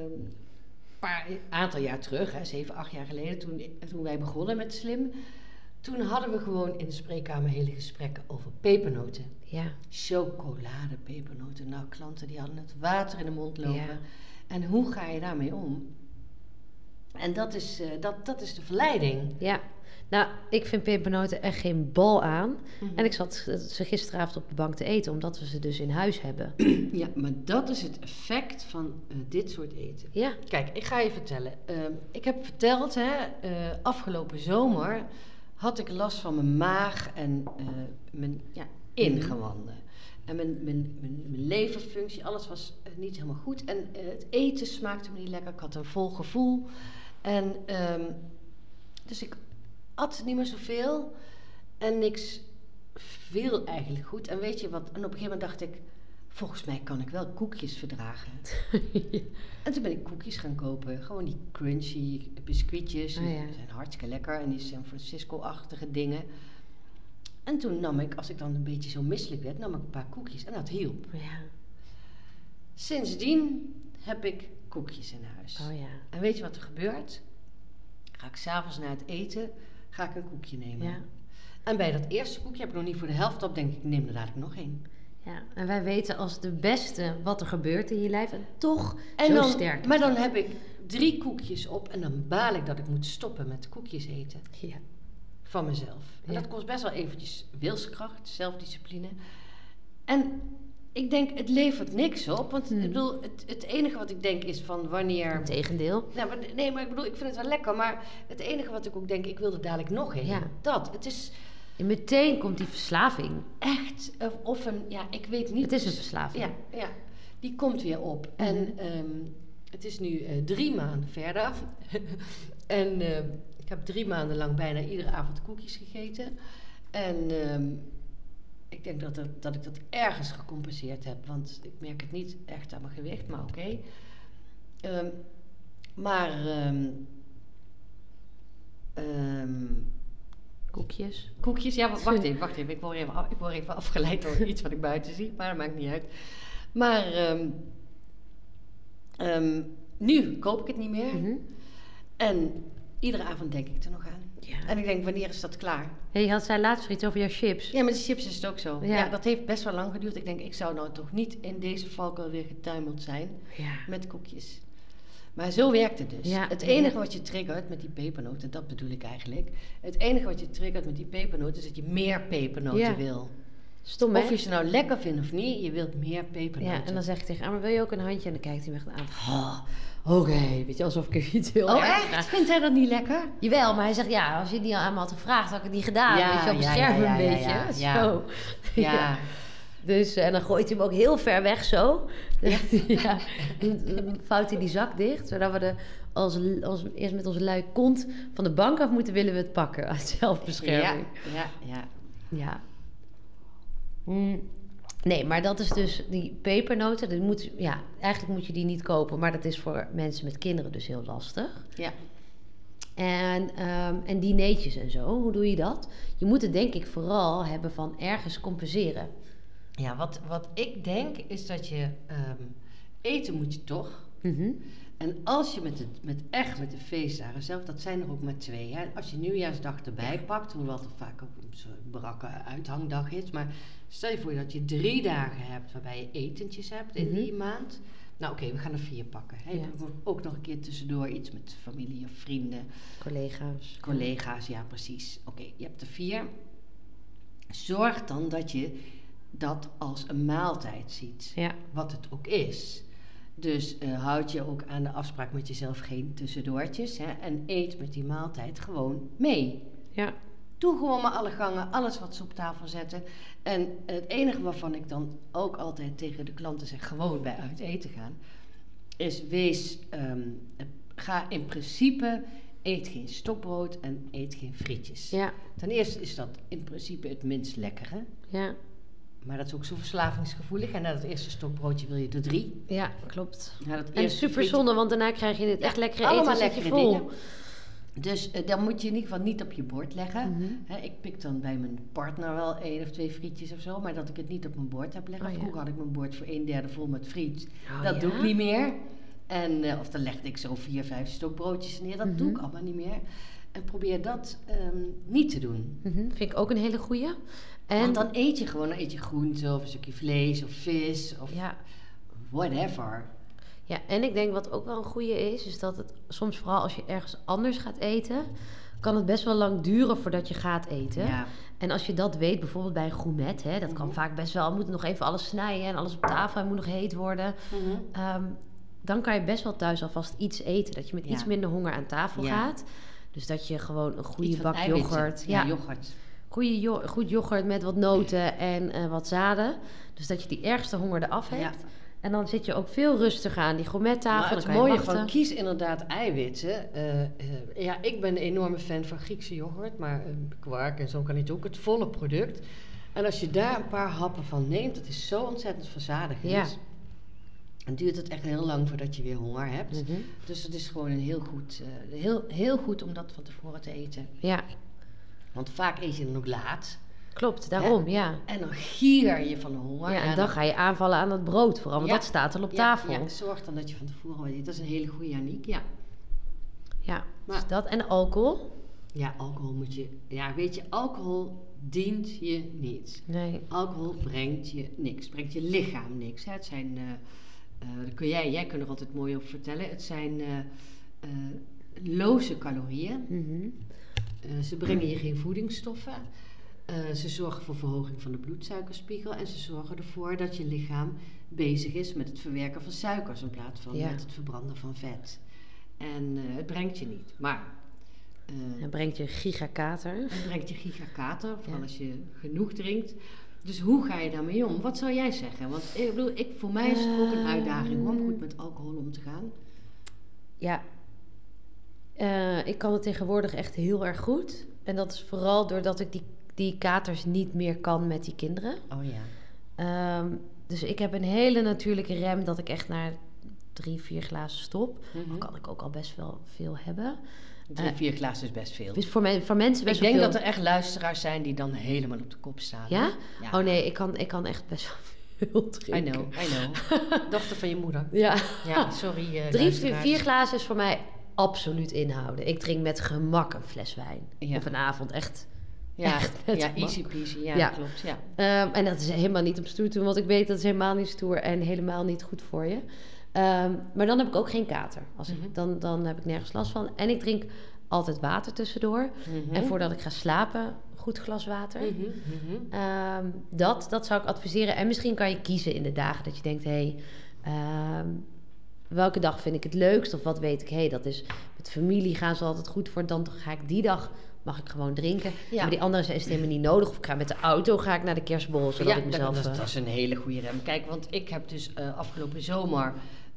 Speaker 3: een paar aantal jaar terug, hè, zeven, acht jaar geleden, toen, toen wij begonnen met Slim. Toen hadden we gewoon in de spreekkamer hele gesprekken over pepernoten.
Speaker 2: Ja,
Speaker 3: Chocoladepepernoten. Nou, klanten die hadden het water in de mond lopen.
Speaker 2: Ja.
Speaker 3: En hoe ga je daarmee om? En dat is, eh, dat, dat is de verleiding.
Speaker 2: ja. Nou, ik vind pepernoten echt geen bal aan. En ik zat ze gisteravond op de bank te eten, omdat we ze dus in huis hebben. [clears throat]
Speaker 3: Ja, maar dat is het effect van eh, dit soort eten.
Speaker 2: Ja,
Speaker 3: Kijk, ik ga je vertellen. Ehm, ik heb verteld, hè, eh, afgelopen zomer had ik last van mijn maag en eh, mijn ja, ingewanden. En mijn, mijn, mijn, mijn leverfunctie, alles was eh, niet helemaal goed. En eh, het eten smaakte me niet lekker. Ik had een vol gevoel. En ehm, dus ik at niet meer zoveel. En niks viel eigenlijk goed. En weet je wat? En op een gegeven moment dacht ik... Volgens mij kan ik wel koekjes verdragen.
Speaker 2: Oh
Speaker 3: En toen ben ik koekjes gaan kopen. Gewoon die crunchy biscuitjes.
Speaker 2: Ah,
Speaker 3: die
Speaker 2: ja.
Speaker 3: zijn hartstikke lekker. En die San Francisco-achtige dingen. En toen nam ik, als ik dan een beetje zo misselijk werd, nam ik een paar koekjes. En dat hielp.
Speaker 2: ja.
Speaker 3: Sindsdien heb ik koekjes in huis.
Speaker 2: Oh ja.
Speaker 3: En weet je wat er gebeurt? Ga ik s'avonds na het eten, ga ik een koekje nemen.
Speaker 2: Ja.
Speaker 3: En bij dat eerste koekje heb ik nog niet voor de helft op, denk ik, ik neem er dadelijk nog één.
Speaker 2: ja. En wij weten als de beste wat er gebeurt in je lijf. En toch
Speaker 3: En
Speaker 2: zo
Speaker 3: dan,
Speaker 2: sterk. is
Speaker 3: Maar dan
Speaker 2: dat.
Speaker 3: heb ik drie koekjes op en dan baal ik dat ik moet stoppen met koekjes eten
Speaker 2: Ja.
Speaker 3: van mezelf. En
Speaker 2: Ja.
Speaker 3: dat kost best wel eventjes wilskracht, zelfdiscipline. En ik denk, het levert niks op. Want
Speaker 2: Hmm.
Speaker 3: ik bedoel, het, het enige wat ik denk is van wanneer...
Speaker 2: Integendeel.
Speaker 3: Nou, maar, nee, maar ik bedoel, ik vind het wel lekker. Maar het enige wat ik ook denk, ik wil er dadelijk nog heen.
Speaker 2: Ja.
Speaker 3: Dat. Het is
Speaker 2: En meteen komt die verslaving.
Speaker 3: echt, eh, of een, ja, ik weet niet.
Speaker 2: Het is een verslaving.
Speaker 3: Ja, ja. Die komt weer op. En ehm, het is nu eh, drie maanden verder. [laughs] en ehm, ik heb drie maanden lang bijna iedere avond koekjes gegeten. En ehm, ik denk dat, er- dat ik dat ergens gecompenseerd heb. Want ik merk het niet echt aan mijn gewicht, maar oké. Ehm, maar... ehm, ehm,
Speaker 2: Koekjes.
Speaker 3: Koekjes, ja, wa- wacht even, wacht even. Ik word even, af- ik word even afgeleid door iets wat ik buiten zie, maar dat maakt niet uit. Maar ehm, ehm, nu koop ik het niet meer.
Speaker 2: Mhm.
Speaker 3: En iedere avond denk ik er nog aan.
Speaker 2: Ja.
Speaker 3: En ik denk, wanneer is dat klaar?
Speaker 2: Hey, je had zij laatst weer iets over jouw chips.
Speaker 3: Ja, met de chips is het ook zo.
Speaker 2: Ja.
Speaker 3: Ja. dat heeft best wel lang geduurd. Ik denk, ik zou nou toch niet in deze valkuil weer getuimeld zijn
Speaker 2: Ja.
Speaker 3: met koekjes. Maar zo werkt het dus.
Speaker 2: Ja,
Speaker 3: het
Speaker 2: ja.
Speaker 3: enige wat je triggert met die pepernoten, dat bedoel ik eigenlijk. Het enige wat je triggert met die pepernoten is dat je meer pepernoten
Speaker 2: Ja.
Speaker 3: wil.
Speaker 2: Stom, hè?
Speaker 3: Of je ze nou lekker vindt of niet, je wilt meer pepernoten.
Speaker 2: Ja, en dan zeg ik tegen haar, maar wil je ook een handje? En dan kijkt hij me echt aan.
Speaker 3: Oh,
Speaker 2: Oké, weet je, alsof ik er iets heel
Speaker 3: oh,
Speaker 2: erg
Speaker 3: echt?
Speaker 2: vraag.
Speaker 3: Vindt hij dat niet
Speaker 2: [laughs]
Speaker 3: lekker?
Speaker 2: Jawel, maar hij zegt, ja, als je het niet aan me had gevraagd, had ik het niet gedaan.
Speaker 3: Ja,
Speaker 2: weet je, op het
Speaker 3: ja,
Speaker 2: scherm
Speaker 3: ja,
Speaker 2: een
Speaker 3: ja,
Speaker 2: beetje.
Speaker 3: ja, ja.
Speaker 2: Zo. [laughs]
Speaker 3: Ja.
Speaker 2: Dus, eh, en dan gooit hij hem ook heel ver weg zo. [laughs] Ja. Dan Vouwt hij die zak dicht, zodat we de, als, als, eerst met onze lui kont van de bank af moeten willen we het pakken. Uit
Speaker 3: Ja,
Speaker 2: zelfbescherming.
Speaker 3: ja, ja.
Speaker 2: Ja. Mm. Nee, maar dat is dus die pepernoten. Dat moet, ja, eigenlijk moet je die niet kopen, maar dat is voor mensen met kinderen dus heel lastig.
Speaker 3: ja.
Speaker 2: En, ehm en dineetjes en zo, hoe doe je dat? Je moet het denk ik vooral hebben van ergens compenseren.
Speaker 3: Ja, wat, wat ik denk is dat je ehm, eten moet je toch.
Speaker 2: Mhm.
Speaker 3: En als je met, het, met echt met de feestdagen zelf, dat zijn er ook maar twee. Hè? Als je nieuwjaarsdag erbij pakt, hoewel het vaak ook een soort brakke uithangdag is. Maar stel je voor dat je drie dagen hebt waarbij je etentjes hebt in
Speaker 2: Mhm.
Speaker 3: die maand. Nou oké, we gaan er vier pakken. Hè?
Speaker 2: Ja.
Speaker 3: Je moet Ook nog een keer tussendoor iets met familie of vrienden.
Speaker 2: Collega's.
Speaker 3: Collega's, ja precies. Oké, je hebt er vier. Zorg dan dat je dat als een maaltijd ziet,
Speaker 2: Ja,
Speaker 3: wat het ook is. Dus eh, houd je ook aan de afspraak met jezelf geen tussendoortjes hè, en eet met die maaltijd gewoon mee.
Speaker 2: ja,
Speaker 3: Doe gewoon maar alle gangen, alles wat ze op tafel zetten. En het enige waarvan ik dan ook altijd tegen de klanten zeg, gewoon bij uit eten gaan, is wees, ehm, ga in principe, eet geen stokbrood en eet geen frietjes.
Speaker 2: ja,
Speaker 3: Ten eerste is dat in principe het minst lekkere,
Speaker 2: ja,
Speaker 3: maar dat is ook zo verslavingsgevoelig. En na dat eerste stokbroodje wil je er drie.
Speaker 2: ja, klopt.
Speaker 3: Na dat
Speaker 2: En
Speaker 3: eerste
Speaker 2: super
Speaker 3: frietje-
Speaker 2: zonde, want daarna krijg je het echt lekkere eten
Speaker 3: allemaal
Speaker 2: en zit je
Speaker 3: lekkere
Speaker 2: vol.
Speaker 3: dingen. Dus eh, dan moet je in ieder geval niet op je bord leggen.
Speaker 2: Mhm.
Speaker 3: Hè, ik pik dan bij mijn partner wel één of twee frietjes of zo, maar dat ik het niet op mijn bord heb leggen.
Speaker 2: Oh, ja.
Speaker 3: Vroeger had ik mijn bord voor een derde vol met friet.
Speaker 2: Oh,
Speaker 3: dat doe
Speaker 2: ja?
Speaker 3: ik niet meer. En, eh, of dan legde ik zo vier, vijf stok broodjes neer. Dat doe
Speaker 2: Mhm.
Speaker 3: ik allemaal niet meer. En probeer dat ehm, niet te doen.
Speaker 2: Mhm, Vind ik ook een hele goeie. En
Speaker 3: En dan eet je gewoon, dan eet je groente of een stukje vlees of vis of
Speaker 2: ja,
Speaker 3: whatever.
Speaker 2: ja, en ik denk wat ook wel een goeie is, is dat het soms vooral als je ergens anders gaat eten, kan het best wel lang duren voordat je gaat eten.
Speaker 3: Ja.
Speaker 2: En als je dat weet, bijvoorbeeld bij een gourmet, hè, dat kan
Speaker 3: Mhm.
Speaker 2: vaak best wel, moet nog even alles snijden en alles op tafel en moet nog heet worden.
Speaker 3: Mhm.
Speaker 2: Ehm, dan kan je best wel thuis alvast iets eten. Dat je met
Speaker 3: Ja.
Speaker 2: iets minder honger aan tafel
Speaker 3: Ja.
Speaker 2: gaat. Dus dat je gewoon een
Speaker 3: Iets
Speaker 2: goede
Speaker 3: van
Speaker 2: bak
Speaker 3: eiwitten.
Speaker 2: yoghurt.
Speaker 3: Ja,
Speaker 2: Ja,
Speaker 3: yoghurt.
Speaker 2: goede jo- goed yoghurt met wat noten en eh, wat zaden. Dus dat je die ergste honger eraf
Speaker 3: Ja.
Speaker 2: hebt. En dan zit je ook veel rustiger aan die gourmettafel.
Speaker 3: Maar
Speaker 2: Dan
Speaker 3: het
Speaker 2: kan je
Speaker 3: mooie
Speaker 2: wachten.
Speaker 3: van kies inderdaad eiwitten. Eh, eh, ja, ik ben een enorme fan van Griekse yoghurt, maar eh, kwark en zo kan niet ook. Het volle product. En als je daar een paar happen van neemt, dat is zo ontzettend verzadigend.
Speaker 2: Ja.
Speaker 3: En duurt het echt heel lang voordat je weer honger hebt.
Speaker 2: Mhm.
Speaker 3: Dus het is gewoon een heel goed, eh, heel, heel goed om dat van tevoren te eten.
Speaker 2: Ja,
Speaker 3: Want vaak eet je dan ook laat.
Speaker 2: klopt. Daarom, ja.
Speaker 3: En dan gier je van de honger.
Speaker 2: Ja, en dan ga je aanvallen aan dat brood vooral. Want
Speaker 3: Ja.
Speaker 2: dat staat al op
Speaker 3: Ja,
Speaker 2: tafel.
Speaker 3: Ja, zorg dan dat je van tevoren wat eet. Dat is een hele goede Janiek, ja.
Speaker 2: Ja,
Speaker 3: Maar-
Speaker 2: dus dat. En alcohol?
Speaker 3: Ja, alcohol moet je... Ja, weet je, alcohol dient je niet.
Speaker 2: Nee.
Speaker 3: Alcohol brengt je niks. Brengt je lichaam niks. Hè. Het zijn... eh eh, dat kun jij, jij kunt er altijd mooi over vertellen. Het zijn eh, eh, loze calorieën.
Speaker 2: Mhm.
Speaker 3: Eh, ze brengen je geen voedingsstoffen. Eh, ze zorgen voor verhoging van de bloedsuikerspiegel. En ze zorgen ervoor dat je lichaam bezig is met het verwerken van suikers in plaats van
Speaker 2: Ja.
Speaker 3: met het verbranden van vet. En eh, het brengt je niet. Maar eh,
Speaker 2: Dat brengt je een gigakater.
Speaker 3: het brengt je gigakater, vooral
Speaker 2: Ja.
Speaker 3: als je genoeg drinkt. Dus hoe ga je daarmee om? Wat zou jij zeggen? Want ik bedoel, ik, voor mij is het ook een uitdaging hoor, om goed met alcohol om te gaan.
Speaker 2: Ja. Eh, ik kan het tegenwoordig echt heel erg goed. En dat is vooral doordat ik die, die katers niet meer kan met die kinderen.
Speaker 3: Oh ja.
Speaker 2: Ehm, dus ik heb een hele natuurlijke rem dat ik echt naar drie, vier glazen stop.
Speaker 3: Mhm.
Speaker 2: Dan kan ik ook al best wel veel hebben.
Speaker 3: Drie,
Speaker 2: Eh,
Speaker 3: vier glazen is best veel.
Speaker 2: Dus voor, men, voor mensen best
Speaker 3: ik denk
Speaker 2: wel
Speaker 3: dat
Speaker 2: veel.
Speaker 3: er echt luisteraars zijn die dan helemaal op de kop staan.
Speaker 2: Ja?
Speaker 3: Ja.
Speaker 2: Oh nee, ik kan, ik kan echt best wel [laughs] veel
Speaker 3: I
Speaker 2: drinken.
Speaker 3: know, I know. [laughs] Dochter van je moeder.
Speaker 2: Ja.
Speaker 3: Ja, sorry. eh,
Speaker 2: Oh. Drie, vier,
Speaker 3: luisteraars.
Speaker 2: vier glazen is voor mij absoluut inhouden. Ik drink met gemak een fles wijn.
Speaker 3: Ja.
Speaker 2: Of een avond echt
Speaker 3: Ja,
Speaker 2: [laughs] echt met
Speaker 3: ja
Speaker 2: gemak.
Speaker 3: easy peasy. Ja,
Speaker 2: Ja.
Speaker 3: klopt. Ja.
Speaker 2: Ehm, en dat is helemaal niet om stoer te doen, want ik weet dat is helemaal niet stoer en helemaal niet goed voor je. Ehm, maar dan heb ik ook geen kater. Als
Speaker 3: Mhm.
Speaker 2: ik, dan, dan heb ik nergens last van. En ik drink altijd water tussendoor. En voordat ik ga slapen, een goed glas water.
Speaker 3: Mhm, mhm.
Speaker 2: Ehm, dat, dat zou ik adviseren. En misschien kan je kiezen in de dagen dat je denkt: hé, hey, ehm, welke dag vind ik het leukst? Of wat weet ik? Hé, hey, dat is met familie gaan ze altijd goed voor. Dan ga ik die dag. Mag ik gewoon drinken?
Speaker 3: Ja.
Speaker 2: Maar die andere zijn is het helemaal niet nodig. Of ik ga met de auto ga ik naar de kerstbol, zodat
Speaker 3: ja,
Speaker 2: ik mezelf...
Speaker 3: dat,
Speaker 2: eh,
Speaker 3: dat, dat is een hele goede rem. Kijk, want ik heb dus eh, afgelopen zomer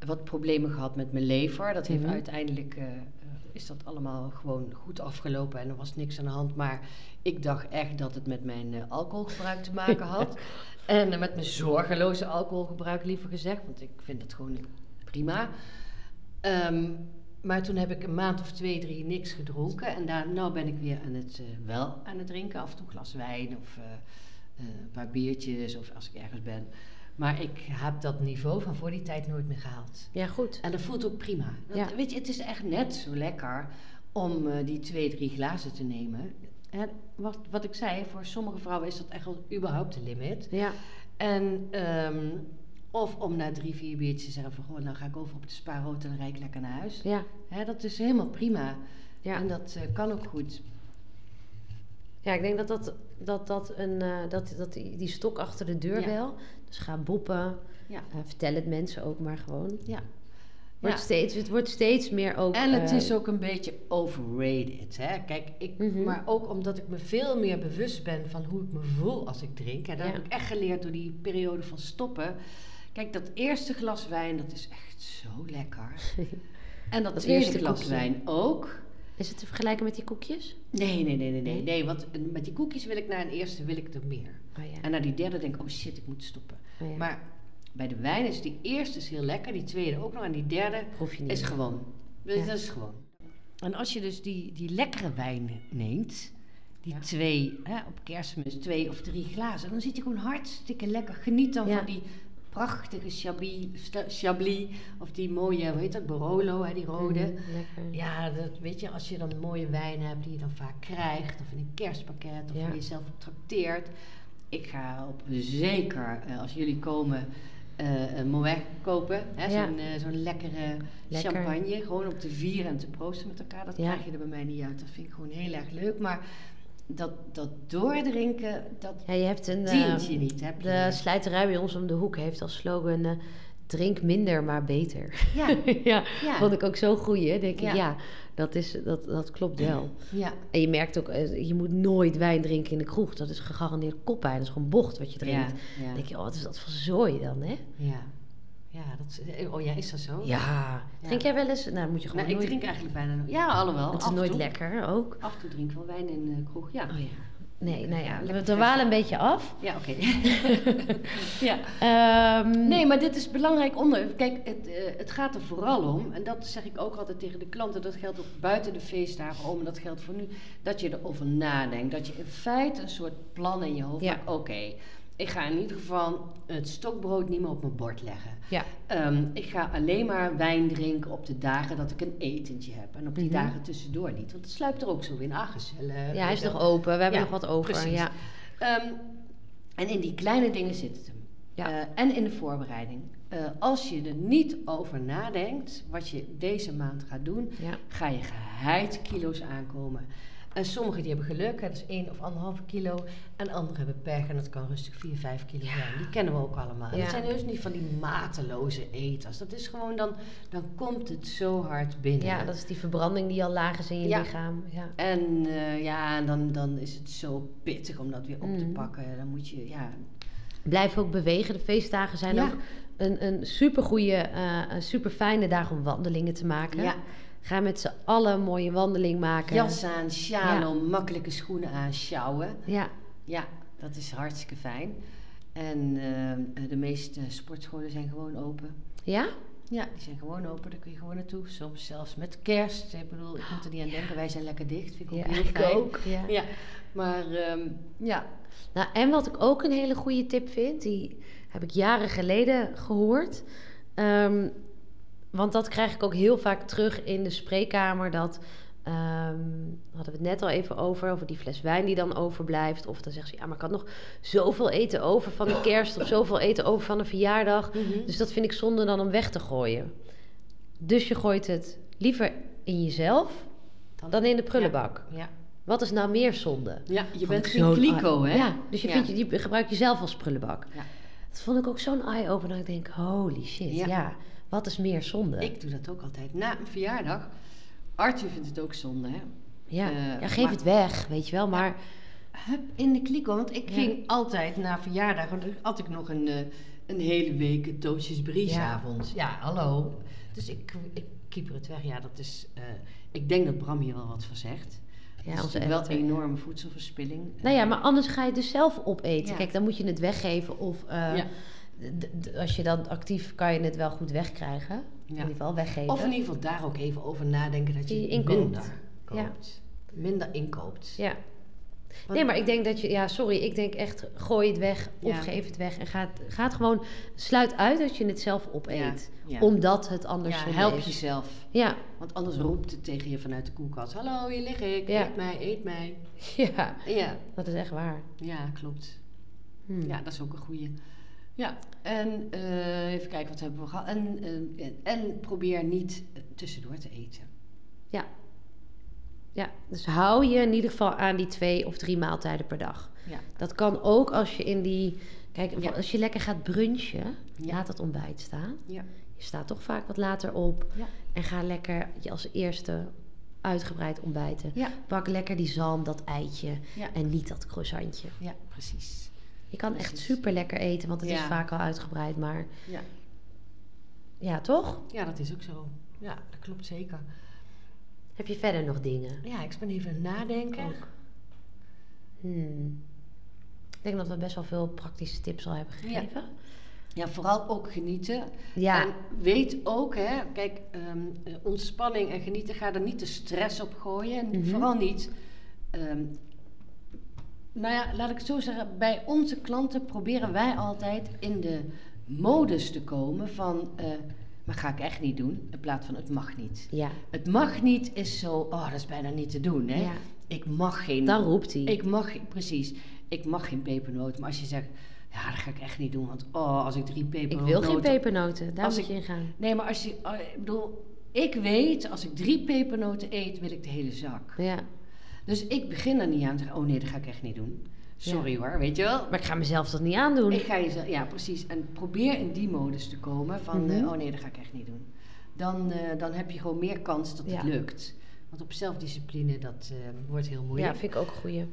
Speaker 3: wat problemen gehad met mijn lever. Dat heeft
Speaker 2: Mhm.
Speaker 3: uiteindelijk, eh, eh, is dat allemaal gewoon goed afgelopen en er was niks aan de hand. Maar ik dacht echt dat het met mijn eh, alcoholgebruik te maken had. En eh, met mijn zorgeloze alcoholgebruik liever gezegd, want ik vind dat gewoon prima. Ehm, maar toen heb ik een maand of twee, drie niks gedronken. En daar, nou ben ik weer aan het, eh, wel aan het drinken. Af en toe een glas wijn of eh, eh, een paar biertjes of als ik ergens ben. Maar ik heb dat niveau van voor die tijd nooit meer gehaald.
Speaker 2: Ja, goed.
Speaker 3: En dat voelt ook prima. Dat-
Speaker 2: Ja.
Speaker 3: Weet je, het is echt net zo lekker om eh, die twee, drie glazen te nemen. En wat, wat ik zei, voor sommige vrouwen is dat echt al überhaupt de limit.
Speaker 2: Ja,
Speaker 3: En, ehm, of om na drie, vier biertjes te zeggen van... Goh, nou ga ik over op de spaarrood en dan rijd ik lekker naar huis.
Speaker 2: ja,
Speaker 3: Hè, dat is helemaal prima.
Speaker 2: ja.
Speaker 3: En dat eh, kan ook goed.
Speaker 2: ja ik denk dat, dat, dat, dat, een, eh, dat, dat die, die stok achter de deur
Speaker 3: Ja.
Speaker 2: wel. Dus ga boppen.
Speaker 3: Ja.
Speaker 2: Eh, vertel het mensen ook maar gewoon.
Speaker 3: Ja.
Speaker 2: Wordt
Speaker 3: Ja.
Speaker 2: steeds, het wordt steeds meer ook...
Speaker 3: En het
Speaker 2: eh,
Speaker 3: is ook een beetje overrated. Hè? Kijk, ik,
Speaker 2: Mhm.
Speaker 3: maar ook omdat ik me veel meer bewust ben van hoe ik me voel als ik drink. En dat
Speaker 2: Ja.
Speaker 3: heb ik echt geleerd door die periode van stoppen. Kijk, dat eerste glas wijn, dat is echt zo
Speaker 2: [laughs]
Speaker 3: lekker. En dat,
Speaker 2: Dat
Speaker 3: tweede
Speaker 2: eerste
Speaker 3: glas
Speaker 2: koekje.
Speaker 3: wijn ook.
Speaker 2: Is het te vergelijken met die koekjes?
Speaker 3: Nee, nee, nee, nee, nee,
Speaker 2: Nee?
Speaker 3: nee. Want eh, met die koekjes wil ik naar een eerste, wil ik er meer.
Speaker 2: Oh ja.
Speaker 3: En naar die derde denk ik, oh shit, ik moet stoppen.
Speaker 2: oh ja.
Speaker 3: Maar bij de wijn is die eerste is heel lekker, die tweede ook nog en die derde
Speaker 2: proef je niet.
Speaker 3: is gewoon. Dus
Speaker 2: Ja.
Speaker 3: Dat is gewoon. En als je dus die, die lekkere wijn neemt, die
Speaker 2: Ja.
Speaker 3: twee, hè, op kerstmis twee of drie glazen, dan zit je gewoon hartstikke lekker. Geniet dan
Speaker 2: Ja.
Speaker 3: van die prachtige chablis, sta- chablis of die mooie, hoe heet dat, Barolo, hè, die rode.
Speaker 2: Mhm, lekker.
Speaker 3: Ja, dat, weet je, als je dan mooie wijn hebt die je dan vaak krijgt, of in een kerstpakket, of
Speaker 2: Ja.
Speaker 3: die je zelf op trakteert. Ik ga op zeker, eh, als jullie komen, eh een Moët kopen. Hè,
Speaker 2: Ja.
Speaker 3: Zo'n eh, zo'n lekkere
Speaker 2: Lekker.
Speaker 3: champagne, gewoon om te vieren en te proosten met elkaar. Dat
Speaker 2: Ja.
Speaker 3: krijg je er bij mij niet uit. Dat vind ik gewoon heel erg leuk. Maar dat, dat doordrinken, dat
Speaker 2: Ja, je hebt een.
Speaker 3: dient
Speaker 2: eh,
Speaker 3: je niet. Heb je
Speaker 2: de
Speaker 3: niet.
Speaker 2: slijterij bij ons om de hoek heeft als slogan: eh, drink minder, maar beter. [laughs]
Speaker 3: Ja,
Speaker 2: ja,
Speaker 3: ja,
Speaker 2: vond ik ook zo goeie. Denk ik,
Speaker 3: Ja.
Speaker 2: ja, dat, is, dat, dat klopt wel.
Speaker 3: ja.
Speaker 2: En je merkt ook, eh, je moet nooit wijn drinken in de kroeg. Dat is gegarandeerd koppijn. Dat is gewoon bocht wat je drinkt.
Speaker 3: Ja, ja,
Speaker 2: Dan denk je, oh, wat is dat voor zooi dan, hè?
Speaker 3: ja. Ja, dat is, oh ja, is dat zo?
Speaker 2: Ja. Drink jij wel eens? Nou, dan moet je gewoon
Speaker 3: Nou, ik
Speaker 2: nooit...
Speaker 3: drink eigenlijk bijna nooit. Ah. Ja, alhoewel.
Speaker 2: Het
Speaker 3: af
Speaker 2: is
Speaker 3: en
Speaker 2: nooit
Speaker 3: toe.
Speaker 2: lekker ook.
Speaker 3: Af en toe drink ik wel wijn in de kroeg, ja.
Speaker 2: Oh ja. Nee, nou ja,
Speaker 3: Lekker
Speaker 2: we
Speaker 3: fris.
Speaker 2: dwalen een beetje af.
Speaker 3: Ja, [laughs] oké. ja.
Speaker 2: Ehm,
Speaker 3: Nee, maar dit is een belangrijk onderwerp. Kijk, het, eh, het gaat er vooral om, en dat zeg ik ook altijd tegen de klanten, dat geldt ook buiten de feestdagen om, en dat geldt voor nu, dat je erover nadenkt. Dat je in feite een soort plan in je hoofd
Speaker 2: Ja.
Speaker 3: maakt. Oké, ik ga in ieder geval het stokbrood niet meer op mijn bord leggen.
Speaker 2: Ja.
Speaker 3: Ehm, ik ga alleen maar wijn drinken op de dagen dat ik een etentje heb. En op die
Speaker 2: Mhm.
Speaker 3: dagen tussendoor niet. Want het sluipt er ook zo in. Ah, gezellig.
Speaker 2: Ja, hij is
Speaker 3: weet je
Speaker 2: nog
Speaker 3: wel.
Speaker 2: open. We hebben
Speaker 3: Ja,
Speaker 2: nog wat over.
Speaker 3: precies.
Speaker 2: Ja.
Speaker 3: Ehm, en in die kleine dingen zit het hem.
Speaker 2: Ja.
Speaker 3: Eh, en in de voorbereiding. Eh, als je er niet over nadenkt wat je deze maand gaat doen,
Speaker 2: Ja.
Speaker 3: ga je geheid kilo's aankomen. En sommigen die hebben geluk, hè, dat is één of anderhalve kilo. En anderen hebben pech en dat kan rustig 4, 5 kilo
Speaker 2: Ja.
Speaker 3: zijn. Die kennen we ook allemaal.
Speaker 2: Ja.
Speaker 3: Dat zijn heus niet van die mateloze eters. Dat is gewoon dan, dan komt het zo hard binnen.
Speaker 2: ja, dat is die verbranding die al laag is in je
Speaker 3: Ja.
Speaker 2: lichaam. Ja.
Speaker 3: En eh, ja, en dan, dan is het zo pittig om dat weer op te
Speaker 2: Mhm.
Speaker 3: pakken. Dan moet je, ja,
Speaker 2: Blijf ook bewegen. De feestdagen zijn
Speaker 3: Ja.
Speaker 2: ook een, een supergoeie, eh, een super fijne dag om wandelingen te maken.
Speaker 3: ja.
Speaker 2: Ga met z'n allen een mooie wandeling maken.
Speaker 3: Jas aan, sjaal om, makkelijke schoenen aan, sjouwen.
Speaker 2: Ja,
Speaker 3: Ja, dat is hartstikke fijn. En ehm, de meeste sportscholen zijn gewoon open.
Speaker 2: ja?
Speaker 3: Ja, die zijn gewoon open, daar kun je gewoon naartoe. Soms zelfs met kerst. Ik bedoel, ik moet er niet aan denken, wij zijn lekker dicht. Vind ik ook
Speaker 2: Ja,
Speaker 3: heel fijn.
Speaker 2: Ja.
Speaker 3: Ja, maar ehm, ja,
Speaker 2: Nou, en wat ik ook een hele goede tip vind, die heb ik jaren geleden gehoord. Ehm, want dat krijg ik ook heel vaak terug in de spreekkamer. Dat ehm, hadden we het net al even over, over die fles wijn die dan overblijft. Of dan zegt ze, ja, maar ik had nog zoveel eten over van de kerst of zoveel eten over van een verjaardag.
Speaker 3: Mhm.
Speaker 2: Dus dat vind ik zonde dan om weg te gooien. Dus je gooit het liever in jezelf dan in de prullenbak.
Speaker 3: Ja,
Speaker 2: Wat is nou meer zonde?
Speaker 3: ja je
Speaker 2: Vond
Speaker 3: bent
Speaker 2: ik
Speaker 3: geen
Speaker 2: zo'n
Speaker 3: kliko,
Speaker 2: eye-
Speaker 3: hè?
Speaker 2: Ja, dus je,
Speaker 3: Ah, Ja.
Speaker 2: vindt je, die gebruik jezelf als prullenbak.
Speaker 3: Ja.
Speaker 2: Dat vond ik ook zo'n eye-opener. Ik denk, holy shit, ja.
Speaker 3: Ja.
Speaker 2: Wat is meer zonde?
Speaker 3: Ik doe dat ook altijd. Na een verjaardag. Arthur vindt het ook zonde, hè?
Speaker 2: ja.
Speaker 3: eh,
Speaker 2: ja, geef
Speaker 3: maar-
Speaker 2: het weg, weet je wel. Maar
Speaker 3: Hup, in de kliko. Want ik
Speaker 2: Ja.
Speaker 3: ging altijd na verjaardag, want dan had ik nog een, eh, een hele week een toosjes brie
Speaker 2: Ja.
Speaker 3: s'avonds. Ja, hallo. Dus ik, ik kieper het weg. Ja, dat is... eh, ik denk dat Bram hier wel wat van zegt.
Speaker 2: ja,
Speaker 3: Ja, dat is
Speaker 2: onze
Speaker 3: natuurlijk
Speaker 2: editor.
Speaker 3: wel een enorme voedselverspilling.
Speaker 2: Nou ja, maar anders ga je het dus zelf opeten.
Speaker 3: Ja.
Speaker 2: Kijk, dan moet je het weggeven. Of eh,
Speaker 3: Ja.
Speaker 2: d- d- als je dan actief, kan je het wel goed wegkrijgen. In ieder geval weggeven.
Speaker 3: Eh, Of in ieder geval daar ook even over nadenken dat
Speaker 2: Die
Speaker 3: je
Speaker 2: inkoopt.
Speaker 3: minder
Speaker 2: Ja.
Speaker 3: koopt. Minder inkoopt.
Speaker 2: Ja.
Speaker 3: Wat-
Speaker 2: Nee, maar ik denk dat je, ja, sorry, ik denk echt, gooi het weg of
Speaker 3: Ja.
Speaker 2: geef het weg. En ga het, ga het gewoon, sluit uit dat je het zelf opeet.
Speaker 3: Ja.
Speaker 2: Omdat het anders
Speaker 3: Ja,
Speaker 2: zonde
Speaker 3: help
Speaker 2: is.
Speaker 3: jezelf.
Speaker 2: Ja,
Speaker 3: Want anders roept het tegen je vanuit de koelkast. Hallo, hier lig ik.
Speaker 2: Ja.
Speaker 3: Eet mij, eet mij.
Speaker 2: ja,
Speaker 3: [laughs] Ja,
Speaker 2: dat is echt waar.
Speaker 3: ja klopt.
Speaker 2: Hm.
Speaker 3: Ja, dat is ook een goeie. Ja, en eh, even kijken wat hebben we gehad. En, eh, en, en probeer niet eh, tussendoor te eten.
Speaker 2: Ja, dus hou je in ieder geval aan die twee of drie maaltijden per dag.
Speaker 3: Ja.
Speaker 2: Dat kan ook als je in die, kijk,
Speaker 3: Ja.
Speaker 2: als je lekker gaat brunchen,
Speaker 3: Ja.
Speaker 2: laat dat ontbijt staan.
Speaker 3: Ja.
Speaker 2: Je staat toch vaak wat later op
Speaker 3: Ja.
Speaker 2: en ga lekker je als eerste uitgebreid ontbijten.
Speaker 3: Ja,
Speaker 2: Pak lekker die zalm, dat eitje
Speaker 3: Ja.
Speaker 2: en niet dat croissantje.
Speaker 3: ja precies.
Speaker 2: Je kan echt
Speaker 3: Precies.
Speaker 2: super lekker eten, want het is
Speaker 3: Ja.
Speaker 2: vaak al uitgebreid, maar
Speaker 3: Ja.
Speaker 2: ja, toch?
Speaker 3: ja, dat is ook zo. Ja, dat klopt zeker.
Speaker 2: Heb je verder nog dingen?
Speaker 3: Ja, ik ben even aan het nadenken.
Speaker 2: Ook. Hmm. Ik denk dat we best wel veel praktische tips al hebben
Speaker 3: Ja.
Speaker 2: gegeven.
Speaker 3: Ja, vooral ook genieten.
Speaker 2: Ja,
Speaker 3: En weet ook, hè, kijk, ehm, eh, ontspanning en genieten, ga er niet de stress op gooien. En
Speaker 2: Mhm.
Speaker 3: Vooral niet. ehm, nou ja, laat ik het zo zeggen, bij onze klanten proberen wij altijd in de modus te komen van... eh, maar ga ik echt niet doen, in plaats van het mag niet.
Speaker 2: Ja,
Speaker 3: Het mag niet is zo, oh, dat is bijna niet te doen, hè.
Speaker 2: ja.
Speaker 3: Ik mag geen...
Speaker 2: dan roept hij.
Speaker 3: Ik mag, precies, ik mag geen pepernoot. Maar als je zegt, ja, dat ga ik echt niet doen, want oh, als ik drie
Speaker 2: Ik
Speaker 3: pepernoten...
Speaker 2: wil geen pepernoten, daar
Speaker 3: Als
Speaker 2: moet
Speaker 3: ik-
Speaker 2: je in gaan.
Speaker 3: Nee, maar als je, eh, ik bedoel, ik weet, als ik drie pepernoten eet, wil ik de hele zak.
Speaker 2: Ja.
Speaker 3: Dus ik begin er niet aan te zeggen, oh nee, dat ga ik echt niet doen. Sorry hoor, weet je wel.
Speaker 2: Maar ik ga mezelf dat niet aandoen.
Speaker 3: Ik ga jezelf, ja precies. En probeer in die modus te komen van,
Speaker 2: Mhm.
Speaker 3: eh, oh nee, dat ga ik echt niet doen. Dan, eh, dan heb je gewoon meer kans dat het
Speaker 2: Ja.
Speaker 3: lukt. Want op zelfdiscipline, dat eh, wordt heel
Speaker 2: ja,
Speaker 3: moeilijk.
Speaker 2: vind ik ook een goeie.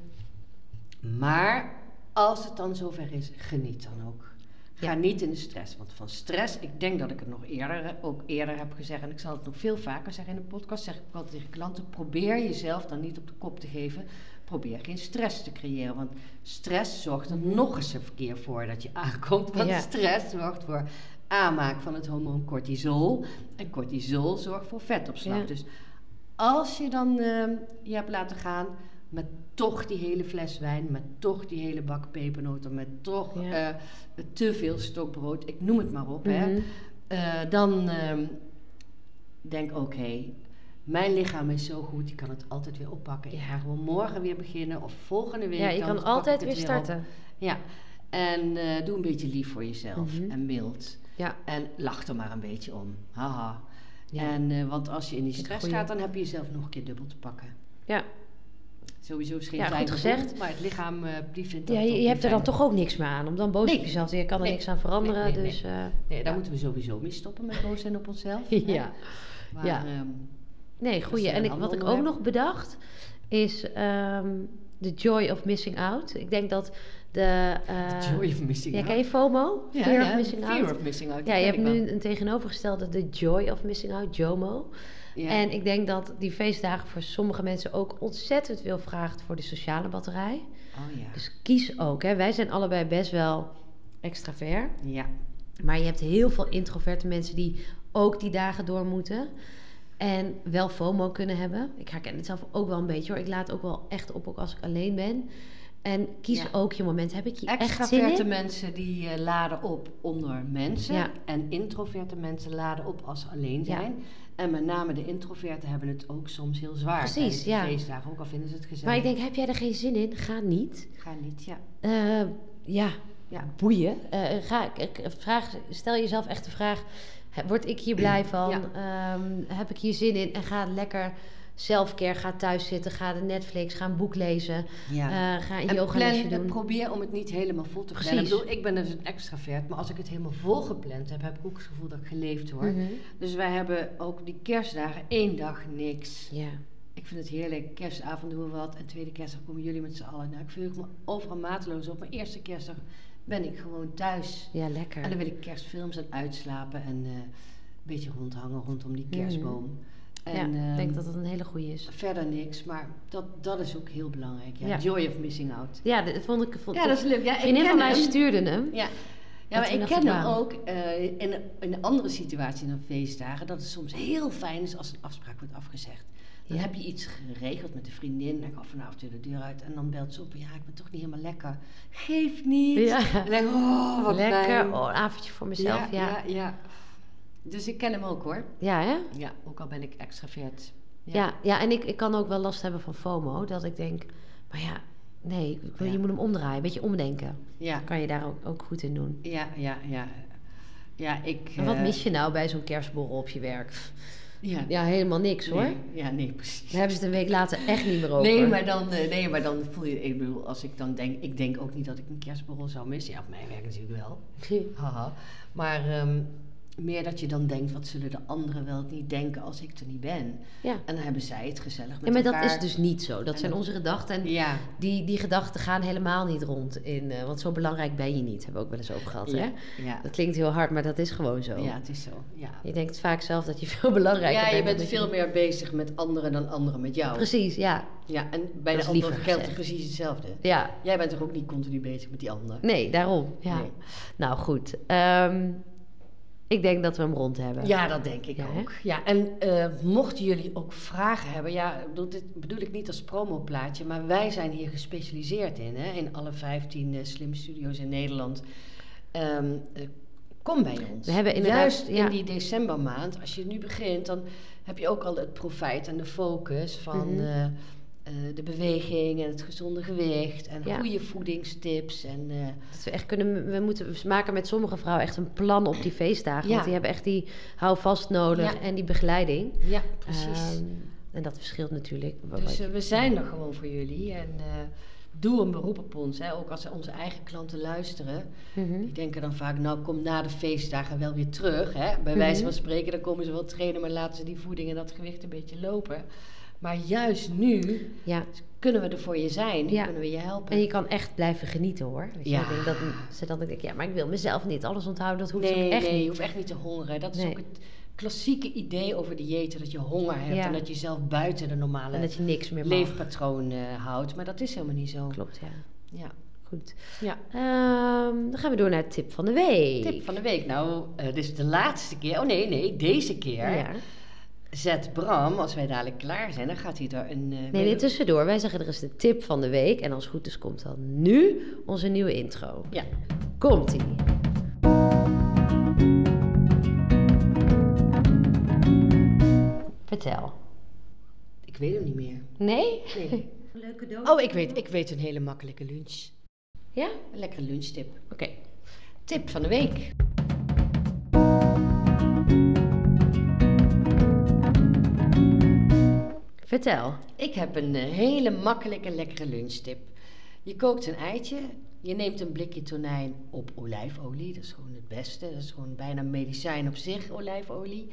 Speaker 3: Maar als het dan zover is, geniet dan ook. Ga niet in de stress. Want van stress, ik denk dat ik het nog eerder, ook eerder heb gezegd. En ik zal het nog veel vaker zeggen in de podcast. Zeg ik ook altijd tegen klanten. Probeer jezelf dan niet op de kop te geven. Probeer geen stress te creëren. Want stress zorgt er nog eens een keer voor dat je aankomt. Want
Speaker 2: Ja.
Speaker 3: stress zorgt voor aanmaak van het hormoon cortisol. En cortisol zorgt voor vetopslag.
Speaker 2: Ja.
Speaker 3: Dus als je dan ehm, je hebt laten gaan met toch die hele fles wijn, met toch die hele bak pepernoten, met toch
Speaker 2: Ja.
Speaker 3: eh, te veel stokbrood, ik noem het maar op, hè,
Speaker 2: Mhm.
Speaker 3: eh, dan ehm, denk oké, mijn lichaam is zo goed, ik kan het altijd weer oppakken. Ik ga gewoon morgen weer beginnen of volgende week.
Speaker 2: Ja, je
Speaker 3: dan
Speaker 2: kan
Speaker 3: pak ik
Speaker 2: altijd
Speaker 3: het
Speaker 2: weer
Speaker 3: op.
Speaker 2: starten.
Speaker 3: Ja, en eh, doe een beetje lief voor jezelf
Speaker 2: Mhm.
Speaker 3: en mild.
Speaker 2: Ja.
Speaker 3: En lach er maar een beetje om. Haha.
Speaker 2: Ja.
Speaker 3: En, eh, want als je in die
Speaker 2: Vind ik
Speaker 3: stress
Speaker 2: een goeie.
Speaker 3: gaat, dan heb je jezelf nog een keer dubbel te pakken.
Speaker 2: Ja.
Speaker 3: Sowieso is geen
Speaker 2: Ja,
Speaker 3: fijn
Speaker 2: goed
Speaker 3: gevoel,
Speaker 2: gezegd.
Speaker 3: maar het lichaam eh die vindt dat
Speaker 2: Ja,
Speaker 3: toch
Speaker 2: je, je
Speaker 3: niet
Speaker 2: hebt er dan
Speaker 3: fijn.
Speaker 2: toch ook niks meer aan om dan boos
Speaker 3: Nee.
Speaker 2: op jezelf te Je kan er
Speaker 3: Nee.
Speaker 2: niks aan veranderen.
Speaker 3: Nee, nee, nee.
Speaker 2: dus eh,
Speaker 3: Nee, daar
Speaker 2: Ja.
Speaker 3: moeten we sowieso mee stoppen met boos zijn op onszelf. hè.
Speaker 2: ja.
Speaker 3: Maar,
Speaker 2: Ja.
Speaker 3: ehm,
Speaker 2: Nee, goeie.
Speaker 3: weer een
Speaker 2: En ik,
Speaker 3: ander
Speaker 2: wat ik ook
Speaker 3: onderwerp.
Speaker 2: nog bedacht is ehm The Joy of Missing Out. Ik denk dat de... eh,
Speaker 3: the joy of missing
Speaker 2: ja,
Speaker 3: out.
Speaker 2: ken je FOMO?
Speaker 3: Ja,
Speaker 2: Fear of
Speaker 3: ja,
Speaker 2: Missing
Speaker 3: fear
Speaker 2: Out.
Speaker 3: of missing out. die
Speaker 2: Ja, je
Speaker 3: ken
Speaker 2: hebt
Speaker 3: ik wel.
Speaker 2: nu een tegenovergestelde The Joy of Missing Out, JOMO.
Speaker 3: Ja.
Speaker 2: En ik denk dat die feestdagen voor sommige mensen ook ontzettend veel vraagt voor de sociale batterij.
Speaker 3: Oh ja.
Speaker 2: Dus kies ook. Hè. Wij zijn allebei best wel extravert.
Speaker 3: Ja.
Speaker 2: Maar je hebt heel veel introverte mensen die ook die dagen door moeten. En wel FOMO kunnen hebben. Ik herken het zelf ook wel een beetje hoor. Ik laat ook wel echt op, ook als ik alleen ben. En kies
Speaker 3: Ja.
Speaker 2: ook je moment. Heb ik hier echt zin
Speaker 3: Extraverte
Speaker 2: in?
Speaker 3: mensen die eh, laden op onder mensen.
Speaker 2: Ja.
Speaker 3: En introverte mensen laden op als ze alleen
Speaker 2: Ja.
Speaker 3: zijn. En met name de introverten hebben het ook soms heel zwaar.
Speaker 2: Precies,
Speaker 3: tijdens de
Speaker 2: ja.
Speaker 3: feestdagen, ook al vinden ze het gezellig.
Speaker 2: Maar ik denk, heb jij er geen zin in? Ga niet.
Speaker 3: Ga niet, ja.
Speaker 2: Eh, ja,
Speaker 3: Ja.
Speaker 2: boeien. Eh, ga, ik- ik- vraag, stel jezelf echt de vraag: he- word ik hier blij van?
Speaker 3: Ja.
Speaker 2: Ehm, heb ik hier zin in? En ga lekker selfcare, ga thuis zitten, ga de Netflix, ga een boek lezen,
Speaker 3: ja.
Speaker 2: eh, ga een
Speaker 3: En
Speaker 2: yoga
Speaker 3: plan-
Speaker 2: lesje
Speaker 3: en
Speaker 2: doen.
Speaker 3: probeer om het niet helemaal vol te plannen.
Speaker 2: Precies.
Speaker 3: Ik bedoel, ik ben dus een extravert, maar als ik het helemaal vol gepland heb, heb ik ook het gevoel dat ik geleefd word.
Speaker 2: Mhm.
Speaker 3: Dus wij hebben ook die kerstdagen één dag niks.
Speaker 2: Ja,
Speaker 3: Ik vind het heerlijk. Kerstavond doen we wat en tweede kerstdag komen jullie met z'n allen. Nou, ik verheug me overal mateloos op. Mijn eerste kerstdag ben ik gewoon thuis.
Speaker 2: ja, lekker.
Speaker 3: En dan wil ik kerstfilms en uitslapen en eh, een beetje rondhangen rondom die kerstboom. En,
Speaker 2: Mhm. ja, ik
Speaker 3: ehm,
Speaker 2: denk dat dat een hele goede is.
Speaker 3: Verder niks, maar dat, dat is ook heel belangrijk. Ja.
Speaker 2: Ja.
Speaker 3: Joy of missing out.
Speaker 2: Ja, dat vond ik. Vond,
Speaker 3: Ja, dat is leuk. Ja, ik
Speaker 2: vriendin
Speaker 3: ken
Speaker 2: van mij
Speaker 3: hem.
Speaker 2: stuurde hem.
Speaker 3: Ja, ja
Speaker 2: Dat
Speaker 3: maar
Speaker 2: we
Speaker 3: ik
Speaker 2: nog
Speaker 3: ken hem
Speaker 2: kwamen.
Speaker 3: ook eh, in, in een andere situatie dan feestdagen. Dat het soms heel fijn is als een afspraak wordt afgezegd. Dan
Speaker 2: Ja.
Speaker 3: heb je iets geregeld met een vriendin. Dan ga ik vanavond weer de deur uit. En dan belt ze op. Ja, ik ben toch niet helemaal lekker. Geef niet.
Speaker 2: Ja.
Speaker 3: En dan denk ik, oh, wat
Speaker 2: lekker.
Speaker 3: fijn.
Speaker 2: Oh, een avondje voor mezelf. Ja, ja.
Speaker 3: ja, ja. Dus ik ken hem ook hoor.
Speaker 2: hè?
Speaker 3: Ja, ook al ben ik extravert. Ja.
Speaker 2: Ja, ja en ik, ik kan ook wel last hebben van FOMO. Dat ik denk, maar ja, nee, ik wil-
Speaker 3: Ja.
Speaker 2: je moet hem omdraaien. Een beetje omdenken.
Speaker 3: Ja,
Speaker 2: Dan kan je daar ook, ook goed in doen.
Speaker 3: ja, ja, ja. Ja, ik...
Speaker 2: Maar wat
Speaker 3: eh,
Speaker 2: mis je nou bij zo'n kerstborrel op je werk? Pff,
Speaker 3: Ja,
Speaker 2: Ja, helemaal niks hoor.
Speaker 3: Nee, ja, nee, precies.
Speaker 2: Daar hebben ze het een week later echt niet meer over.
Speaker 3: Nee maar, dan, eh, nee, maar dan voel je... Ik bedoel, als ik dan denk... Ik denk ook niet dat ik een kerstborrel zou missen. Ja, op mijn werk natuurlijk wel. Haha. Maar ehm, meer dat je dan denkt... Wat zullen de anderen wel niet denken als ik er niet ben?
Speaker 2: Ja.
Speaker 3: En dan hebben zij het gezellig met
Speaker 2: Ja, maar dat
Speaker 3: elkaar.
Speaker 2: is dus niet zo. Dat
Speaker 3: En
Speaker 2: zijn
Speaker 3: dat-
Speaker 2: onze gedachten. En
Speaker 3: Ja,
Speaker 2: die, die gedachten gaan helemaal niet rond. In, eh, want zo belangrijk ben je niet. Hebben we ook wel eens over gehad. Hè?
Speaker 3: ja, ja,
Speaker 2: Dat klinkt heel hard, maar dat is gewoon zo.
Speaker 3: ja, het is zo. Ja,
Speaker 2: Je denkt vaak zelf dat je [laughs] veel belangrijker
Speaker 3: ja
Speaker 2: bent.
Speaker 3: je
Speaker 2: dan
Speaker 3: bent
Speaker 2: dat
Speaker 3: veel meer bezig met anderen dan anderen met jou.
Speaker 2: Precies, ja.
Speaker 3: Ja, en bij
Speaker 2: Dat is
Speaker 3: de anderen
Speaker 2: liever
Speaker 3: geldt het
Speaker 2: gezegd.
Speaker 3: precies hetzelfde.
Speaker 2: ja.
Speaker 3: Jij bent toch ook niet continu bezig met die ander?
Speaker 2: Nee, daarom. Ja.
Speaker 3: Nee.
Speaker 2: Nou goed. Ehm, ik denk dat we hem rond hebben.
Speaker 3: Ja, dat denk ik
Speaker 2: Ja, hè?
Speaker 3: ook. Ja, en eh, mochten jullie ook vragen hebben, ja, ik bedoel, dit bedoel ik niet als promoplaatje, maar wij zijn hier gespecialiseerd in, hè, in alle 15 eh, slim studio's in Nederland. Ehm, eh, Kom bij ons.
Speaker 2: We hebben inderdaad-
Speaker 3: Juist
Speaker 2: ja.
Speaker 3: in die decembermaand, als je nu begint, dan heb je ook al het profijt en de focus van
Speaker 2: Mhm.
Speaker 3: eh, eh, de beweging en het gezonde gewicht en
Speaker 2: Ja.
Speaker 3: goede voedingstips. En, eh,
Speaker 2: Dat we echt kunnen, we moeten we maken met sommige vrouwen echt een plan op die feestdagen.
Speaker 3: Ja.
Speaker 2: Want die hebben echt die houvast nodig
Speaker 3: Ja.
Speaker 2: en die begeleiding.
Speaker 3: ja, precies.
Speaker 2: Ehm, en dat verschilt natuurlijk. Wat-
Speaker 3: Dus
Speaker 2: wat-
Speaker 3: eh, we zijn er gewoon voor jullie. En eh, doe een beroep op ons. Hè. Ook als onze eigen klanten luisteren.
Speaker 2: Mhm.
Speaker 3: eh, Die denken dan vaak, nou kom na de feestdagen wel weer terug. Hè. Bij wijze
Speaker 2: Mhm.
Speaker 3: van spreken, dan komen ze wel trainen, maar laten ze die voeding en dat gewicht een beetje lopen. Maar juist nu
Speaker 2: Ja.
Speaker 3: kunnen we er voor je zijn.
Speaker 2: Ja.
Speaker 3: Kunnen we je helpen.
Speaker 2: En je kan echt blijven genieten hoor. Weet je,
Speaker 3: Ja.
Speaker 2: ik denk dat ze dan denken, ja, maar ik wil mezelf niet alles onthouden. Dat hoeft
Speaker 3: nee,
Speaker 2: ook echt
Speaker 3: nee, je
Speaker 2: niet.
Speaker 3: hoeft echt niet te hongeren. Dat is
Speaker 2: Nee.
Speaker 3: ook het klassieke idee over diëten. Dat je honger hebt
Speaker 2: Ja.
Speaker 3: en dat je zelf buiten de normale
Speaker 2: En dat je niks meer mag.
Speaker 3: leefpatroon eh, houdt. Maar dat is helemaal niet zo.
Speaker 2: Klopt, ja.
Speaker 3: Ja.
Speaker 2: Goed.
Speaker 3: ja.
Speaker 2: Ehm, dan gaan we door naar het tip van de week.
Speaker 3: Tip van de week. Nou, eh, dit is de laatste keer. Oh nee, nee, deze keer.
Speaker 2: Ja.
Speaker 3: Zet Bram, als wij dadelijk klaar zijn, dan gaat hij er een. eh,
Speaker 2: Nee,
Speaker 3: mede-
Speaker 2: dit tussendoor. Wij zeggen er is de tip van de week. En als het goed is, komt dan nu onze nieuwe intro.
Speaker 3: Ja.
Speaker 2: Komt-ie. Vertel.
Speaker 3: Ik weet hem niet meer.
Speaker 2: Nee? [laughs]
Speaker 3: Nee.
Speaker 1: Leuk cadeau.
Speaker 3: Oh, ik weet, ik weet een hele makkelijke lunch.
Speaker 2: Ja?
Speaker 3: Een lekkere lunchtip.
Speaker 2: Oké.
Speaker 3: Tip van de week.
Speaker 2: Vertel.
Speaker 3: Ik heb een eh, hele makkelijke, lekkere lunchtip. Je kookt een eitje, je neemt een blikje tonijn op olijfolie. Dat is gewoon het beste. Dat is gewoon bijna een medicijn op zich, olijfolie.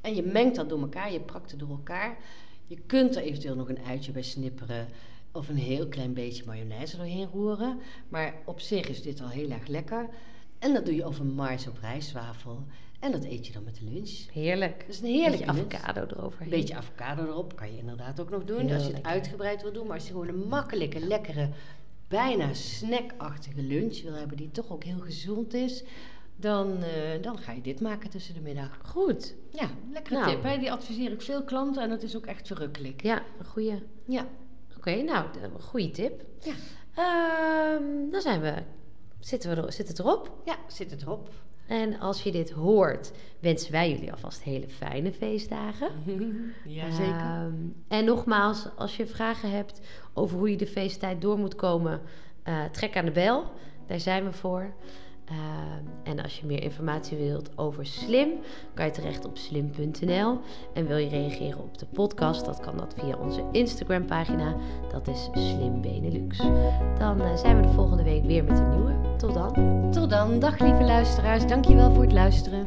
Speaker 3: En je mengt dat door elkaar, je prakt het door elkaar. Je kunt er eventueel nog een uitje bij snipperen. Of een heel klein beetje mayonaise doorheen roeren. Maar op zich is dit al heel erg lekker. En dat doe je over mais op rijstwafel. En dat eet je dan met de lunch.
Speaker 2: Heerlijk.
Speaker 3: Dat is een heerlijke
Speaker 2: Beetje
Speaker 3: lunch.
Speaker 2: avocado eroverheen.
Speaker 3: Een beetje avocado erop kan je inderdaad ook nog doen.
Speaker 2: Heel
Speaker 3: als je het
Speaker 2: lekker.
Speaker 3: uitgebreid wil doen. Maar als je gewoon een makkelijke, lekkere, bijna snackachtige lunch wil hebben. die toch ook heel gezond is. dan, eh, dan ga je dit maken tussen de middag.
Speaker 2: Goed.
Speaker 3: Ja, lekkere
Speaker 2: Nou.
Speaker 3: tip. Hè? Die adviseer ik veel klanten en dat is ook echt verrukkelijk.
Speaker 2: Ja, een goede.
Speaker 3: Ja,
Speaker 2: Oké, nou, een goede tip.
Speaker 3: Ja.
Speaker 2: Ehm, dan zijn we. Zitten we er, zit het erop?
Speaker 3: ja zit
Speaker 2: [laughs]
Speaker 3: het erop. [laughs]
Speaker 2: En als je dit hoort, wensen wij jullie alvast hele fijne feestdagen. Ehm, en nogmaals, als je vragen hebt over hoe je de feesttijd door moet komen, eh, trek aan de bel. Daar zijn we voor. Ehm, en als je meer informatie wilt over Slim, kan je terecht op slim.nl. En wil je reageren op de podcast, dat kan dat via onze Instagram pagina. Dat is Slim Benelux. Dan eh, zijn we de volgende week weer met een nieuwe. Tot dan.
Speaker 3: Tot dan. Dag lieve luisteraars. Dankjewel voor het luisteren.